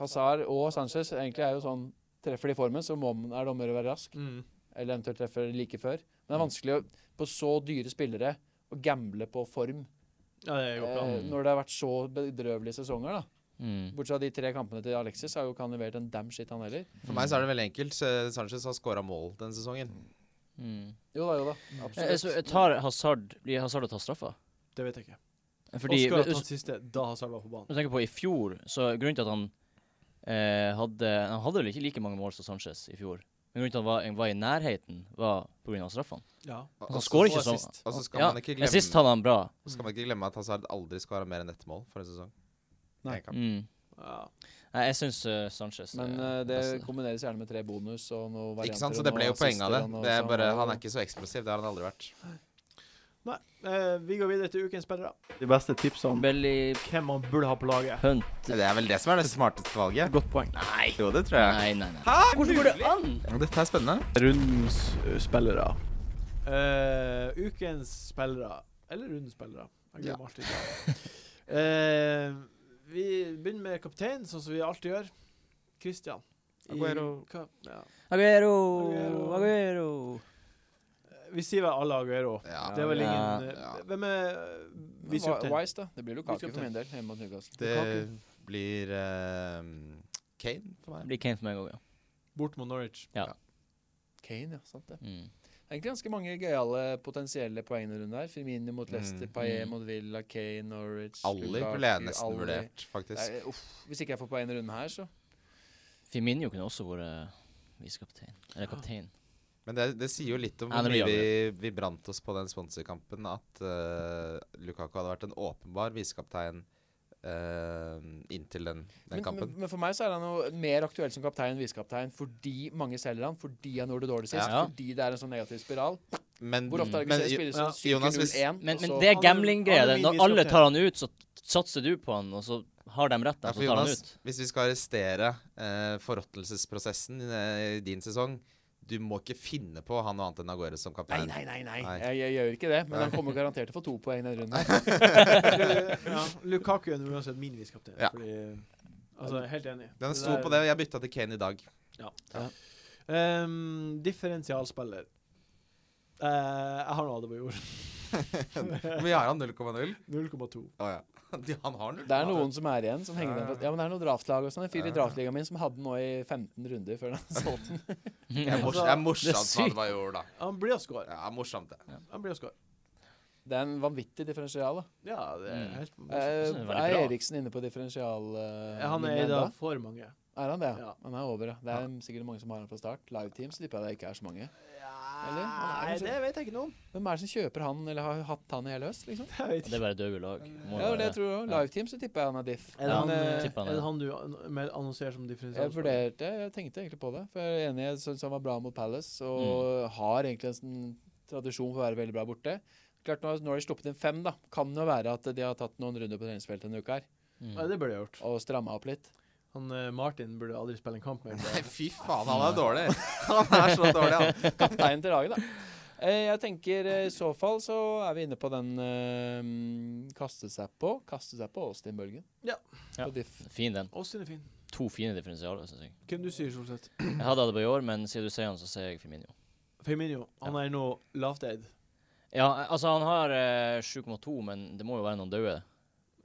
S3: Hazard og Sanchez egentlig er jo sånn Treffer de formen, så må man, er det om å gjøre å være rask.
S1: Mm.
S3: Eller eventuelt treffer like før. Men det er vanskelig å, på så dyre spillere å gamble på form
S1: Ja, det går bra.
S3: eh, når det har vært så bedrøvelige sesonger. da.
S2: Mm.
S3: Bortsett fra de tre kampene til Alexis, har jo ikke han levert en damn shit, han heller.
S4: For meg så er det veldig enkelt. Eh, Sanchez har scora mål denne sesongen.
S2: Mm.
S3: Jo da, jo da.
S2: Jeg, jeg,
S3: Absolutt.
S2: jeg tar Hazard Blir Hazard å ta straffa?
S1: Det vet jeg ikke.
S2: Fordi
S1: Oscar har
S2: hvis-
S1: tatt siste da Hazard var på banen.
S2: Jeg tenker på i fjor, så grunnen til at han eh, hadde Han hadde vel ikke like mange mål som Sanchez i fjor. Men grunnen til at han var, han var i nærheten, var pga. straffene.
S1: Ja.
S4: Og-
S2: Han
S4: og så-
S2: scorer ikke
S4: og
S2: sånn.
S4: sist- Og så skal
S2: Ja,
S4: man ikke
S2: Men sist
S4: glemme
S2: hadde han bra.
S4: Så skal man ikke glemme at Hazard aldri skåra mer enn ett mål for en sesong.
S3: Nei.
S4: En kamp.
S2: Mm.
S1: Ja.
S2: Nei, jeg syns Sanchez
S3: Men
S2: er
S3: eh, det
S2: best.
S3: kombineres gjerne med tre bonus og noe varianter.
S4: Ikke sant? Så
S3: og
S4: det ble
S3: noe
S4: jo poenget
S3: assister
S4: av det.
S3: og noe
S4: det er
S3: sånn.
S4: bare, han er ikke så eksplosiv. Det har han aldri vært.
S1: Eh, vi går videre til ukens spillere. De beste tipsene om
S2: Belly
S1: hvem man burde ha på laget.
S2: Hunt
S4: Det er vel det som er det smarteste valget.
S1: Godt poeng.
S4: Nei. Jo, det tror jeg.
S2: Nei, nei, nei.
S4: Ah,
S2: Hvordan går det an?
S4: Dette er spennende.
S1: Rundens eh, spillere. Eh, ukens spillere. Eller rundens spillere. Jeg glemmer alltid det. Eh, vi begynner med kaptein, sånn som vi alltid gjør. Christian. I-
S4: Aguero.
S1: Hva, ja.
S2: Aguero,
S1: Aguero.
S2: Aguero.
S1: Vi sier vel alle Aguero.
S4: Ja.
S1: Det er vel
S2: Ja.
S1: ingen eh,
S4: Ja.
S1: Hvem er
S3: Men
S1: viser
S3: Wi-
S1: kaptein?
S3: Wise, da. Det blir
S1: Vice
S3: Lukaku
S1: kaptein.
S3: for min del, hjemme mot Newcastle.
S4: Det
S3: Lukaku.
S4: blir eh, Kane for
S2: Det blir
S4: meg.
S2: Kane for meg òg, ja.
S1: Bort mot Norwich.
S3: Kane, ja. Sant det.
S2: Mm.
S3: Egentlig ganske mange gøyale potensielle poeng rundt der. Firmino mot Leicester,
S4: Mm.
S3: Paillet
S2: Mm.
S3: mot Villa, Kane, Norwich
S4: Aller
S3: Lukaku,
S4: ble jeg nesten
S3: Alli.
S4: vurdert, faktisk.
S3: Nei, uff, hvis ikke jeg får poeng i runden her, så
S2: Firmino kunne også vært eh, visekaptein. Eller kaptein.
S4: Men det, det sier jo litt om
S2: Ja,
S4: hvor
S2: det blir
S4: mye vi, vi brant oss på den sponsorkampen at eh, Lukaku hadde vært en åpenbar visekaptein eh, inntil den, den
S3: men, men,
S4: kampen.
S3: men for meg så er han jo mer aktuell som kaptein enn visekaptein fordi mange selger han, fordi han gjorde det dårlig sist,
S2: Ja. Mm.
S3: fordi det er en sånn negativ spiral.
S4: Men,
S3: Hvor ofte har vi
S4: men
S3: ikke sett
S4: Jo-
S3: spillere
S1: ja,
S3: som
S4: Jonas,
S3: synker
S4: hvis-
S3: 0-1?
S2: Men,
S3: og
S2: men
S3: så-
S2: det er
S1: Han er-
S2: gambling-greia.
S1: han er
S2: det. Når
S1: min
S2: alle
S1: visekaptein.
S2: tar han ut, så t- satser du på han, og så har de rett, da,
S4: Ja, for
S2: så tar han
S4: Jonas,
S2: ut.
S4: hvis vi skal arrestere eh, forråtnelsesprosessen eh, i din sesong Du må ikke finne på han og annet enn Aguero som
S3: Nei,
S4: kaptein.
S3: nei, nei. nei.
S4: Nei.
S3: Jeg, jeg gjør ikke det, men han kommer garantert til å få to poeng denne runden.
S1: ja, Lukaku er uansett min visekaptein.
S4: Ja.
S1: Fordi Altså, jeg er helt enig.
S4: Den sto på det, og jeg bytta til Kane i dag.
S1: Ehm, differensialspiller. Eh, jeg har noe Adebayor.
S4: Vi har han 0,0.
S1: 0,2.
S4: Å ja. De- Han har 0,0.
S3: Det er noen som er igjen, som henger
S4: Ja,
S3: den
S4: ja.
S3: fast. Ja, men det er noen draftlag og sånn. En fyr i
S4: Ja.
S3: draftligaen min som hadde den nå i 15 runder før han solgte den.
S4: Det er, mors det er morsomt
S2: Det er
S4: hva
S2: sykt.
S4: det var i år, da.
S1: Han blir å score.
S4: Ja, morsomt, det.
S1: Han blir å score.
S3: Det er en vanvittig differensial, da.
S1: Ja, det er
S2: Mm.
S1: helt
S3: Eh,
S2: synes det er veldig
S3: er
S2: bra.
S3: Eriksen inne på differensial? eh,
S1: Han
S3: linjen
S1: er da
S3: enda?
S1: for mange.
S3: Er han det?
S1: Ja.
S3: Han er over, ja. Det er sikkert mange som har han fra start. Live team så tipper jeg det ikke er så mange.
S1: Ja,
S3: Eller?
S1: Nei, det vet jeg ikke noe om.
S3: Hvem er det som kjøper han, eller har hatt han i hele høst? liksom?
S1: Jeg vet
S2: Det er
S1: ikke.
S2: bare døde lag. Må
S3: Ja, det
S2: være
S3: var det jeg tror også.
S2: Ja.
S3: Liveteam så tipper jeg han er diff.
S1: Er det,
S2: Ja,
S1: han,
S3: Men,
S1: eh,
S2: tipper han
S1: er
S2: det.
S1: det han du an- mer annonserer som
S3: Jeg
S1: differensialspiller?
S3: vurderte, jeg tenkte egentlig på det. For jeg er enig, jeg syns han var bra mot Palace, og har egentlig en sånn tradisjon for å være veldig bra borte. Klart Nå har- nå har de sluppet inn fem, da. Kan jo være at de har tatt noen runder på treningsfeltet denne uka her,
S2: Mm.
S1: Ja, det burde jeg gjort.
S3: og stramma opp litt.
S1: Han eh, Martin burde aldri spille en kamp mer.
S4: Nei, fy faen, han er dårlig. Han er så dårlig, han.
S3: Kapteinen til laget, da. Eh, Jeg tenker eh, I så fall så er vi inne på den eh, kaste seg på Kaste seg på Austin Bølgen.
S1: Ja.
S2: Ja.
S3: På diff.
S2: Fin den.
S1: Ås sin er fin.
S2: To fine differensialer, syns jeg.
S1: Hvem du sier, Solseth?
S2: Jeg hadde det på i år, men siden du sier han, så sier jeg Firmino.
S1: Firmino. Han er nå lavt eid.
S2: Ja, altså, han har eh, 7,2, men det må jo være noen døde.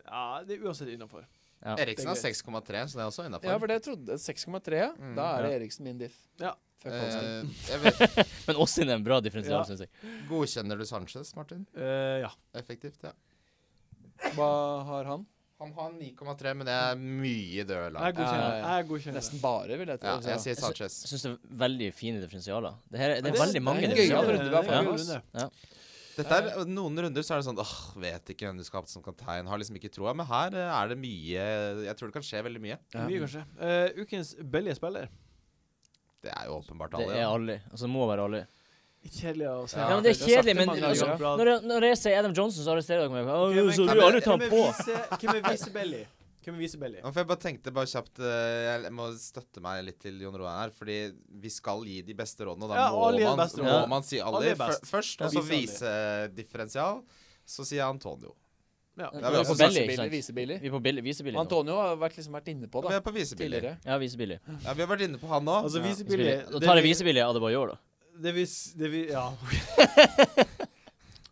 S1: Ja, det er uansett innafor.
S2: Ja.
S4: Eriksen har 6,3, så det er også innafor.
S3: Ja, for det trodde 6,3. ja.
S4: Mm. Eh,
S3: Da er det
S2: Ja.
S3: Eriksen min diff.
S1: Ja.
S3: Fuck Austin.
S4: jeg vet,
S2: Men Åstin er en bra differensial,
S1: Ja.
S2: synes jeg.
S4: godkjenner du Sanchez, Martin?
S1: Eh, ja.
S4: Effektivt, ja.
S3: Hva har han?
S4: Han har 9,3, men det er mye døde
S1: Jeg
S4: lag.
S1: godkjenner.
S3: Ja, ja.
S1: Jeg godkjenner.
S3: Nesten bare, vil jeg tro.
S4: Ja,
S3: altså.
S4: jeg sier Sanchez.
S2: Jeg syns det er veldig fine differensialer. Det, her, er- det
S1: Det
S2: er
S1: er-
S2: veldig mange
S3: det er en
S1: Ja,
S3: gøyal
S2: differensialer.
S3: runde vi har
S1: det er en
S3: foran
S1: gøy
S3: oss.
S1: runde.
S4: Dette er, noen runder så er det sånn åh, vet ikke hvem du skal ha som kaptein. Har liksom ikke troa. Men her eh, er det mye Jeg tror det kan skje veldig mye.
S3: Ja.
S1: Mye, kanskje. Eh, ukens billige spiller.
S4: Det er jo åpenbart
S2: Det
S4: alle.
S2: er
S4: Ja.
S2: Ali. Altså, det må være Ali.
S1: Litt Kjedelig å se.
S4: Ja,
S2: Ja, men det er
S3: du har sagt
S2: kjedelig,
S3: det
S2: men
S3: mange
S2: altså,
S1: ganger, ja.
S2: når, jeg, når jeg sier Adam Johnson, så arresterer dere meg. Å,
S1: Ok, men-
S2: så
S1: Nei,
S2: du
S4: men-
S2: aldri tar
S1: Hvem
S2: han
S1: vil
S2: på.
S1: vise- Hvem vil vise Belly? Hvem vil vise Belly?
S4: Ja, for jeg bare tenkte bare kjapt eh, Jeg må støtte meg litt til Jon Roan her, fordi vi skal gi de beste rådene, og da
S1: Ja,
S4: må,
S1: Ali er
S4: man,
S1: best
S4: må
S1: råd.
S4: man si
S1: Ali
S4: Ali
S1: er best.
S4: fø- først,
S1: Ja,
S4: og så
S1: vise
S4: vise differensial. Så sier jeg Antonio.
S1: Ja.
S2: Ja,
S4: Ja,
S2: vi
S4: men
S2: er på
S4: altså,
S2: Billy,
S3: Billy,
S2: ikke sant?
S3: Visebilly.
S2: Vi er på Billy, visebillig nå.
S3: Antonio har vært, liksom vært inne på
S4: Vi
S3: da,
S4: er på visebilder.
S3: tidligere.
S2: Ja, visebillig.
S4: Ja, vi har vært inne på han nå.
S1: Altså, vise Billy.
S2: Da tar jeg visebillig Adebayor, da.
S1: Det vi s- Det vi Ja.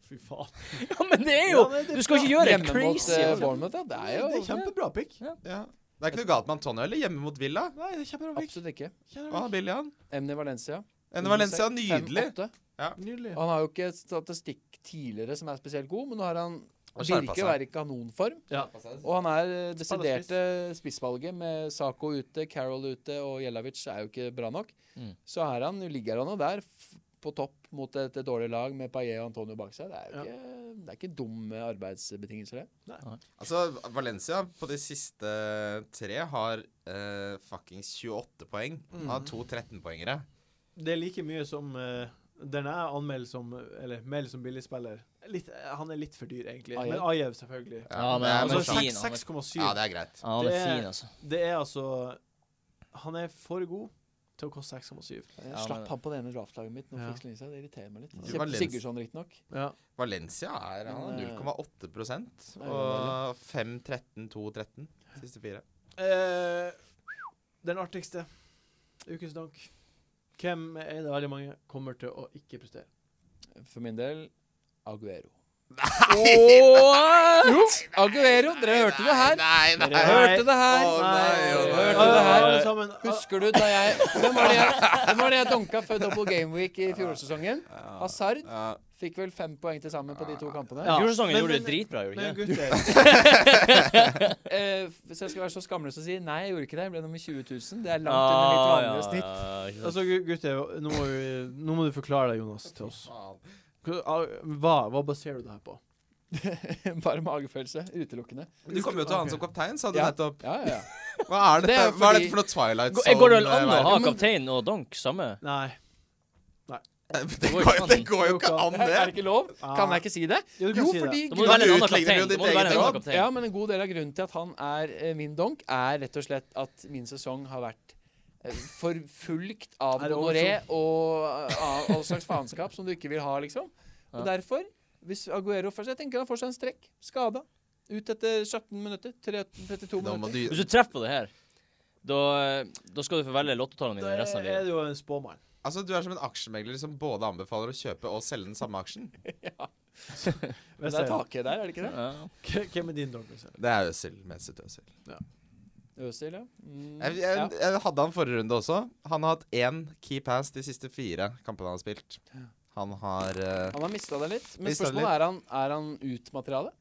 S1: Fy faen.
S2: Ja, men det er
S1: Ja,
S2: jo
S1: men det er
S2: Du skal ikke
S1: bra.
S2: gjøre det
S3: Hjemme mot
S2: crazy.
S3: eh,
S2: altså.
S3: Bournemouth, ja. Det er
S1: Det
S3: jo
S1: er kjempebra pick.
S4: Ja. Det er ikke noe galt med Antonio eller hjemme mot Villa.
S1: Nei, det er kjempebra pick.
S3: absolutt ikke.
S4: Å,
S1: Kjempebra
S4: han er billig, han.
S3: Emny Valencia.
S4: Enne Valencia, nydelig.
S3: 5-8.
S1: pick. Nydelig.
S3: Han har jo ikke statistikk tidligere som er spesielt god, men nå har han
S4: Han skjerpa
S3: virker å være i kanonform.
S1: Ja.
S3: Og han er eh,
S1: Spill og
S3: desiderte spissvalget med Sako ute, Carol ute og Jelavic er jo ikke bra nok.
S2: Mm.
S3: Så er han, ligger han jo der f- på topp mot et, et dårlig lag med Paillet og Antonio bak seg. Det er jo
S1: Ja.
S3: ikke, det er ikke dumme arbeidsbetingelser, det.
S4: Altså, Valencia på de siste tre har eh, fuckings 28 poeng.
S1: Mm.
S4: Han har to 13-poengere.
S1: Det er like mye som eh, den jeg anmelder som Eller melder som billigspiller. Litt, eh, han er litt for dyr, egentlig.
S3: Ajev.
S1: Men Ajev, selvfølgelig.
S2: Ja, men
S4: det er
S2: han
S4: vel
S1: Altså
S2: er
S4: sant.
S2: fin.
S1: seks-
S2: han er-
S1: 6,7.
S4: ja, det er greit.
S2: Ja, han er
S1: Det er-
S2: fin, altså.
S1: Det er altså Han er for god til å koste 6,7.
S3: Jeg
S2: Ja,
S3: slapp
S2: men-
S3: han på det ene draftlaget mitt. Nå
S1: Ja.
S3: fikk Slinsa, det irriterer meg litt.
S4: Du,
S3: Sig-
S4: Valencia-
S3: Sigurdsson riktignok.
S1: Ja.
S4: Valencia er han er
S3: Men, eh,
S4: 0,8
S3: er
S4: og 5-13-2-13 siste fire.
S1: Eh, den artigste. Ukens dank. Hvem er det veldig mange kommer til å ikke prestere?
S3: For min del Aguero.
S2: What?
S3: Jo, Aguero, dere hørte det her.
S4: Nei, nei,
S3: Dere
S4: nei.
S3: hørte det her.
S4: Å, nei, å, nei.
S3: Hørte det her?
S1: Alle sammen.
S3: Husker du da jeg Hvem var det jeg, hvem var det jeg donka før Double Game Week i fjorårssesongen? Hazard
S4: Ja.
S3: fikk vel fem poeng til sammen på de to kampene.
S1: Ja.
S2: Fjorårssesongen
S1: Men-
S2: gjorde det
S1: men-
S2: dritbra, gjorde
S1: Ah, Men
S2: det ikke?
S1: gutter,
S3: Eh, hvis jeg skal være så skamløs og si nei, jeg gjorde ikke det, jeg ble nummer 20 000. Det er langt under mitt
S2: Ah,
S3: vanlige snitt.
S2: ja, ikke sant.
S1: altså, gu- gutter nå, må vi, nå må du forklare deg, Jonas, til oss.
S4: Faen.
S1: Hva, hva baserer du det her på?
S3: Bare magefølelse. Utelukkende.
S4: Du kom jo til å ha han som kaptein, sa du
S3: Ja.
S4: nettopp.
S3: Ja, ja, ja.
S4: Hva er dette
S3: Det er
S4: hva er
S3: fordi-
S4: dette for noe Twilight eh,
S2: Går- Går det vel an å
S4: Zone-verden?
S2: ha kaptein og donk samme?
S1: Nei.
S4: Det går jo- det går jo ikke an,
S3: Er det
S4: det.
S3: ikke lov?
S2: Ah.
S3: Kan jeg ikke si det?
S1: Jo, du kan
S3: Jo,
S1: si
S3: fordi
S2: Da må
S4: Du
S2: det være en annen
S4: utligner
S2: kaptein. Da
S4: jo ditt
S2: må det være en
S4: eget
S2: annen
S4: råd.
S2: kaptein.
S3: Ja, men en god del av grunnen til at han er eh, min donk, er rett og slett at min sesong har vært eh, forfulgt av
S1: Er det
S3: gonoré og eh, av all slags faenskap som du ikke vil ha, liksom. Og
S2: Ja.
S3: derfor, hvis Aguero først Jeg tenker han får seg en strekk. Skada. Ut etter 17 minutter. 3, 32
S4: Nå må
S3: minutter.
S4: du
S2: Hvis du treffer på det her, da, da skal du få velge lottotallene dine
S1: Da
S2: resten av
S1: er
S2: livet.
S1: det jo en spåmann.
S4: Altså, Du er som en aksjemegler som både anbefaler å kjøpe og selge den samme aksjen.
S3: Men det er taket der, er det ikke det?
S2: Ja.
S1: K- Hvem er din dog? Øzil?
S4: Det er Øsil. Mesut Øsil.
S3: Øzil, ja. Mm,
S4: Jeg,
S3: ja.
S4: jeg, jeg hadde han forrige runde også. Han har hatt én key pass de siste fire kampene han har spilt. Han har eh,
S3: Han har mista det litt. Men
S4: Mistet det
S3: spørsmålet er han, er han ut materialet?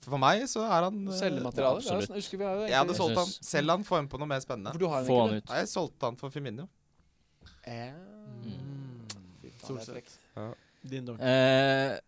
S4: For meg så er han eh,
S3: Selgematerialet? Det er jo
S2: absolutt.
S3: sånn- Husker vi har jo
S4: Jeg hadde
S3: egentlig-
S4: solgt
S2: Jeg
S4: han.
S2: synes-
S4: Selg han, få en på noe mer spennende.
S3: For du har
S2: Få
S3: han
S2: han
S3: ikke?
S2: ut.
S4: Nei, Jeg solgte han for Firmino.
S3: Få han ut.
S1: Mm.
S3: Fy faen.
S1: stort
S3: det er
S1: sett.
S3: frekt.
S1: Din donk.
S2: Eh,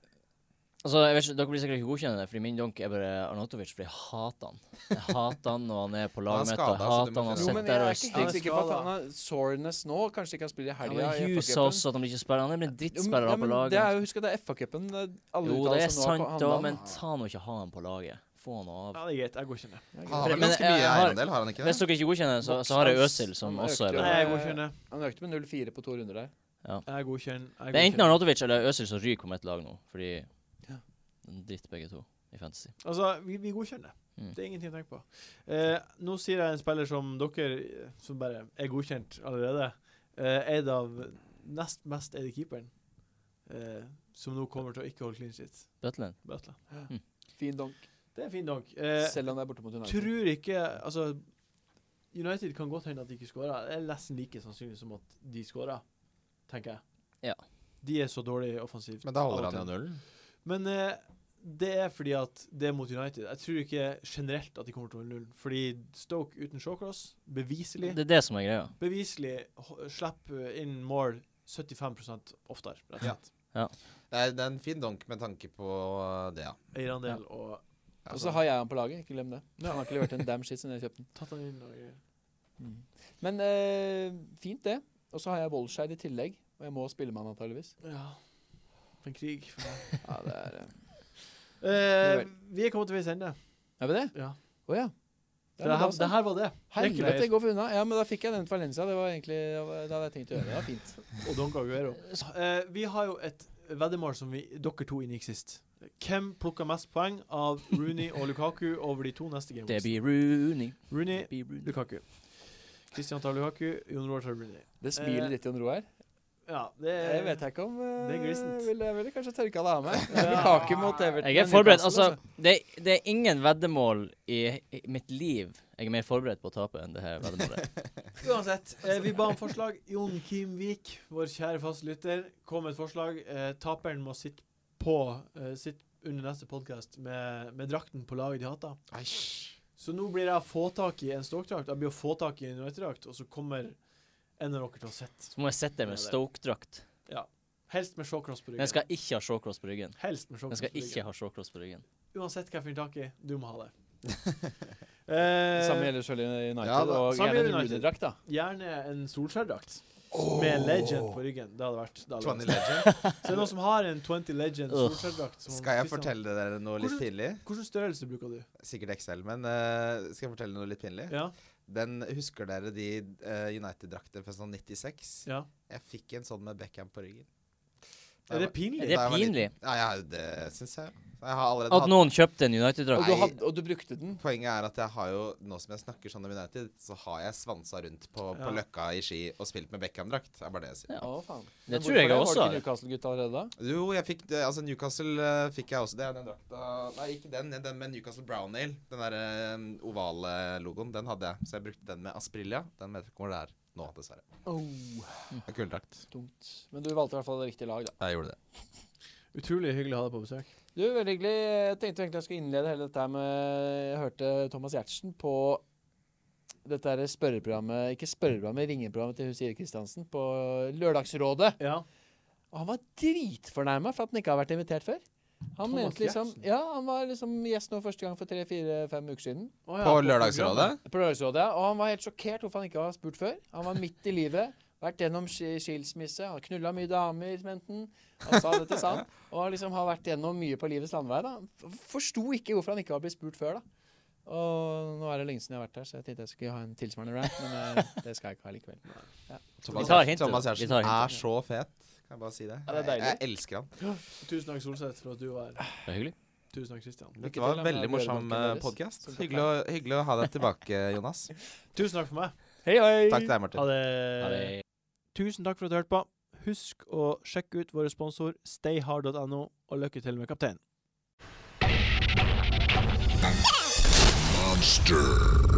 S2: altså, jeg vet ikke, Dere blir sikkert ikke godkjennende, fordi min donk er bare Arnautovic, fordi jeg hater han. Jeg hater han når han er på
S4: Han
S2: laget
S4: er
S2: mitt, og
S4: skadet,
S2: jeg
S4: så du
S2: hater han
S4: må
S2: når han
S4: finne-
S3: Jo,
S2: sitter
S3: men jeg
S2: der og
S3: er
S2: er
S3: ikke
S2: stygg.
S3: helt sikker på at han har soreness nå. Kanskje ikke han spiller i
S2: Ja,
S3: helga.
S2: men Hughes sa også at han blir ikke spiller. Han blir en drittspiller å ha på
S3: Det
S2: laget.
S3: er jo, husk at det er FA-cupen. det er eh, alle
S2: Jo, det er
S3: uttalelser nå har
S2: sant,
S3: handlet
S2: da,
S3: om.
S2: men ta nå ikke ha han på laget. Få han av.
S1: Ja, det er greit. Jeg godkjenner.
S4: Han har
S2: Men-
S4: vel
S2: men
S4: ganske
S2: jeg-
S4: mye
S2: jeg har-
S4: eiendel, har han ikke det?
S2: Hvis dere ikke godkjenner, så, så har jeg Øsil, som
S3: Han
S2: også
S3: økte
S2: er
S3: jo
S2: bra.
S1: Nei, jeg godkjenner.
S3: Han økte med 0-4 på to runder der.
S1: Jeg godkjenner. Jeg
S2: Det er enten
S1: godkjenner.
S2: Arnautovic eller Øsil som ryker på mitt lag nå, fordi
S3: Ja.
S2: Dritt begge to i fantasy.
S1: Altså, vi, vi godkjenner.
S2: Mm.
S1: Det er ingenting å tenke på. Eh, nå sier jeg en spiller som dere, eh, som bare er godkjent allerede, eh, eid av nest mest eide keeperen, eh, som nå kommer til å ikke holde clean shit.
S2: Bøtlen.
S1: Butler.
S3: Fin donk.
S1: Det er en fin donk. Eh,
S3: Selv om det er borte mot United.
S1: tror ikke Altså, United kan godt hende at de ikke skårer. Det er nesten like sannsynlig som at de skårer, tenker jeg.
S2: Ja.
S1: De er så dårlige offensivt.
S4: Men da
S1: av og
S4: holder
S1: til.
S4: han jo nullen.
S1: Men eh, det er fordi at det er mot United. Jeg tror ikke generelt at de kommer til å holde null. Fordi Stoke uten Shawcross beviselig
S2: Det er det som er greia.
S1: Beviselig ho- slipper inn mål 75 oftere, rett og slett.
S4: Det er, det er en fin donk med tanke på eh, det, ja.
S1: Eierandel og
S4: Ja,
S3: Og så
S4: sånn.
S3: har jeg han på laget. Ikke glem det. Han har ikke levert en damn shit siden jeg kjøpte den.
S1: tatt han inn og greier.
S3: Mm. Men eh, fint, det. Og så har jeg Wolsheid i tillegg. Og jeg må spille med han antageligvis.
S1: Ja. For en krig. For meg.
S3: Ja, det er eh,
S1: Eh, vi er kommet til veis ende.
S3: Er vi det?
S1: Ja.
S3: Å ja. Ja,
S1: Det,
S3: men da
S1: her,
S3: så.
S1: det her var det. Det er
S3: altså. Helvete,
S1: ikke mer.
S3: gå for unna. Ja, men da fikk jeg nevnt Valencia. Det var egentlig det hadde jeg tenkt å gjøre. Det var fint.
S1: Og Don Caguero. Eh, vi har jo et veddemål som vi, dere to inngikk sist. Hvem plukker mest poeng av Rooney og Lukaku over de to neste
S2: Det
S1: gamene?
S2: blir Rooney.
S1: Rooney
S2: Be Rooney.
S1: Lukaku. Kristian tar Lukaku, Jon Roar tar Rooney.
S3: Det smilet
S1: Eh,
S3: ditt, Jon Roar.
S1: Ja, det
S3: Det vet jeg ikke om eh,
S1: det er glissent.
S3: ville, jeg ville kanskje tørka det av meg.
S1: Ja.
S3: Lukaku mot Everton.
S2: Jeg er forberedt. Altså, det, det er ingen veddemål i, i mitt liv jeg er mer forberedt på å tape enn det her veddemålet.
S1: Uansett, eh, vi ba om forslag. Jon Kim Vik, vår kjære fastlytter, kom med et forslag. Eh, taperen må sitte på eh, sitte under neste podkast med, med drakten på laget de hater.
S4: Eish.
S1: Så nå blir jeg å få tak i en Stoke-drakt. Jeg blir å få tak i en United-drakt, og så kommer en av dere til å sitte.
S2: Så må jeg sitte der med Stoke-drakt.
S1: Helst med shawcross på
S2: Den
S1: ryggen.
S2: skal ikke ha shawcross på ryggen.
S1: Helst med
S2: Den
S1: shawcross
S2: skal
S1: på
S2: ikke
S1: ryggen.
S2: ha shawcross på ryggen.
S1: Uansett hva jeg finner tak i, du må ha det.
S3: Det samme
S1: Eh,
S3: gjelder selv United.
S4: Ja, da.
S3: og
S1: Samme
S3: gjerne en
S1: gjelder United.
S3: Rooney-drakt, da.
S1: Gjerne en Solskjær-drakt. Med Legend på ryggen. Det hadde vært, det hadde
S4: 20
S1: vært.
S4: legend.
S1: Så er det noen som har en 20 Legend
S2: Ugh.
S1: Solskjær-drakt? som-
S4: Skal jeg
S1: Kristian,
S4: fortelle dere noe litt
S1: Hvordan-
S4: tidlig?
S1: Hvilken størrelse bruker du?
S4: Sikkert Excel, men eh, skal jeg fortelle noe litt pinlig?
S1: Ja,
S4: Den, husker dere de eh, United-drakter fra sånn 96?
S1: ja.
S4: Jeg fikk en sånn med Beckham på ryggen.
S1: Er det
S2: Er
S1: pinlig?
S2: det
S4: Da jeg var
S2: pinlig?
S4: liten- Ja, ja det syns jeg. Jeg har allerede
S2: At
S4: hatt
S2: noen kjøpte en
S3: Og
S2: United-drakt.
S3: du,
S4: Nei.
S3: hadde, og du brukte den.
S4: Poenget er at jeg har jo, nå som jeg snakker sånn om United, så har jeg svansa rundt på, på
S1: Ja.
S4: Løkka i Ski og spilt med Beckham-drakt. Det er bare det jeg sier.
S2: Ja.
S3: Å, faen.
S2: Det tror jeg også
S3: har.
S2: har.
S3: Newcastle-gutta allerede da?
S4: Jo, jeg fikk det, altså Newcastle eh, fikk jeg også. Det er den drakta Nei, ikke den, den med Newcastle Brown Ale. Den der eh, ovale logoen, den hadde jeg. Så jeg brukte den med Asprilla. Den vet jeg ikke hvor det er nå, dessverre. Mm. Det er Kul drakt.
S3: Tungt. Men du valgte i hvert fall riktig lag, da.
S4: Jeg gjorde det.
S1: Utrolig hyggelig å ha deg på besøk.
S3: Du, veldig hyggelig. Jeg tenkte egentlig jeg skulle innlede hele dette her med Jeg hørte Thomas Giertsen på dette her spørreprogrammet Ikke spørreprogrammet, ringeprogrammet til Husire Kristiansen på Lørdagsrådet.
S1: Ja.
S3: Og han var dritfornærma for at han ikke har vært invitert før. Han
S1: Thomas
S3: mente liksom
S1: Giertsen?
S3: Ja, han var liksom gjest nå første gang for tre-fire-fem uker siden.
S1: Å ja,
S4: På
S1: på
S4: Lørdagsrådet?
S1: programmet.
S3: På Lørdagsrådet, ja. Og han var helt sjokkert hvorfor han ikke var spurt før. Han var midt i livet. Vært gjennom sk- skilsmisse. Han knulla mye damer, mente han. Han sa dette sant. Og han liksom har vært gjennom mye på livets landevei. da. F- Forsto ikke hvorfor han ikke har blitt spurt før, da. Og nå er det lenge siden jeg har vært her, så jeg tenkte jeg skulle ha en tilsvarende rant, men eh, det skal jeg ikke ha likevel.
S4: Thomas,
S2: Vi tar
S4: Gjertsen-
S2: hintet,
S4: Thomas Ah.
S2: da. Vi
S4: Gjertsen
S2: tar hintet.
S4: er så fet. Kan jeg bare si det?
S3: Ja, det er
S4: jeg,
S3: deilig.
S4: jeg elsker han.
S1: Tusen takk, Solseth, for at du var her.
S2: Det er hyggelig.
S1: Tusen takk, Kristian.
S3: Lykke
S4: Det var
S3: til
S4: en
S3: med
S4: veldig morsom
S3: rørdunken deres.
S4: podkast.
S3: Som
S4: Hyggelig, å- hyggelig å ha deg tilbake, Jonas.
S1: Tusen takk for meg.
S3: Hei, hei!
S4: Takk til deg, Martin.
S1: Ha
S2: Ja,
S1: det.
S2: det er
S1: Tusen takk for at du hørte på. Husk å sjekke ut vår sponsor stayhard.no, og lykke til med kapteinen.
S5: Monster.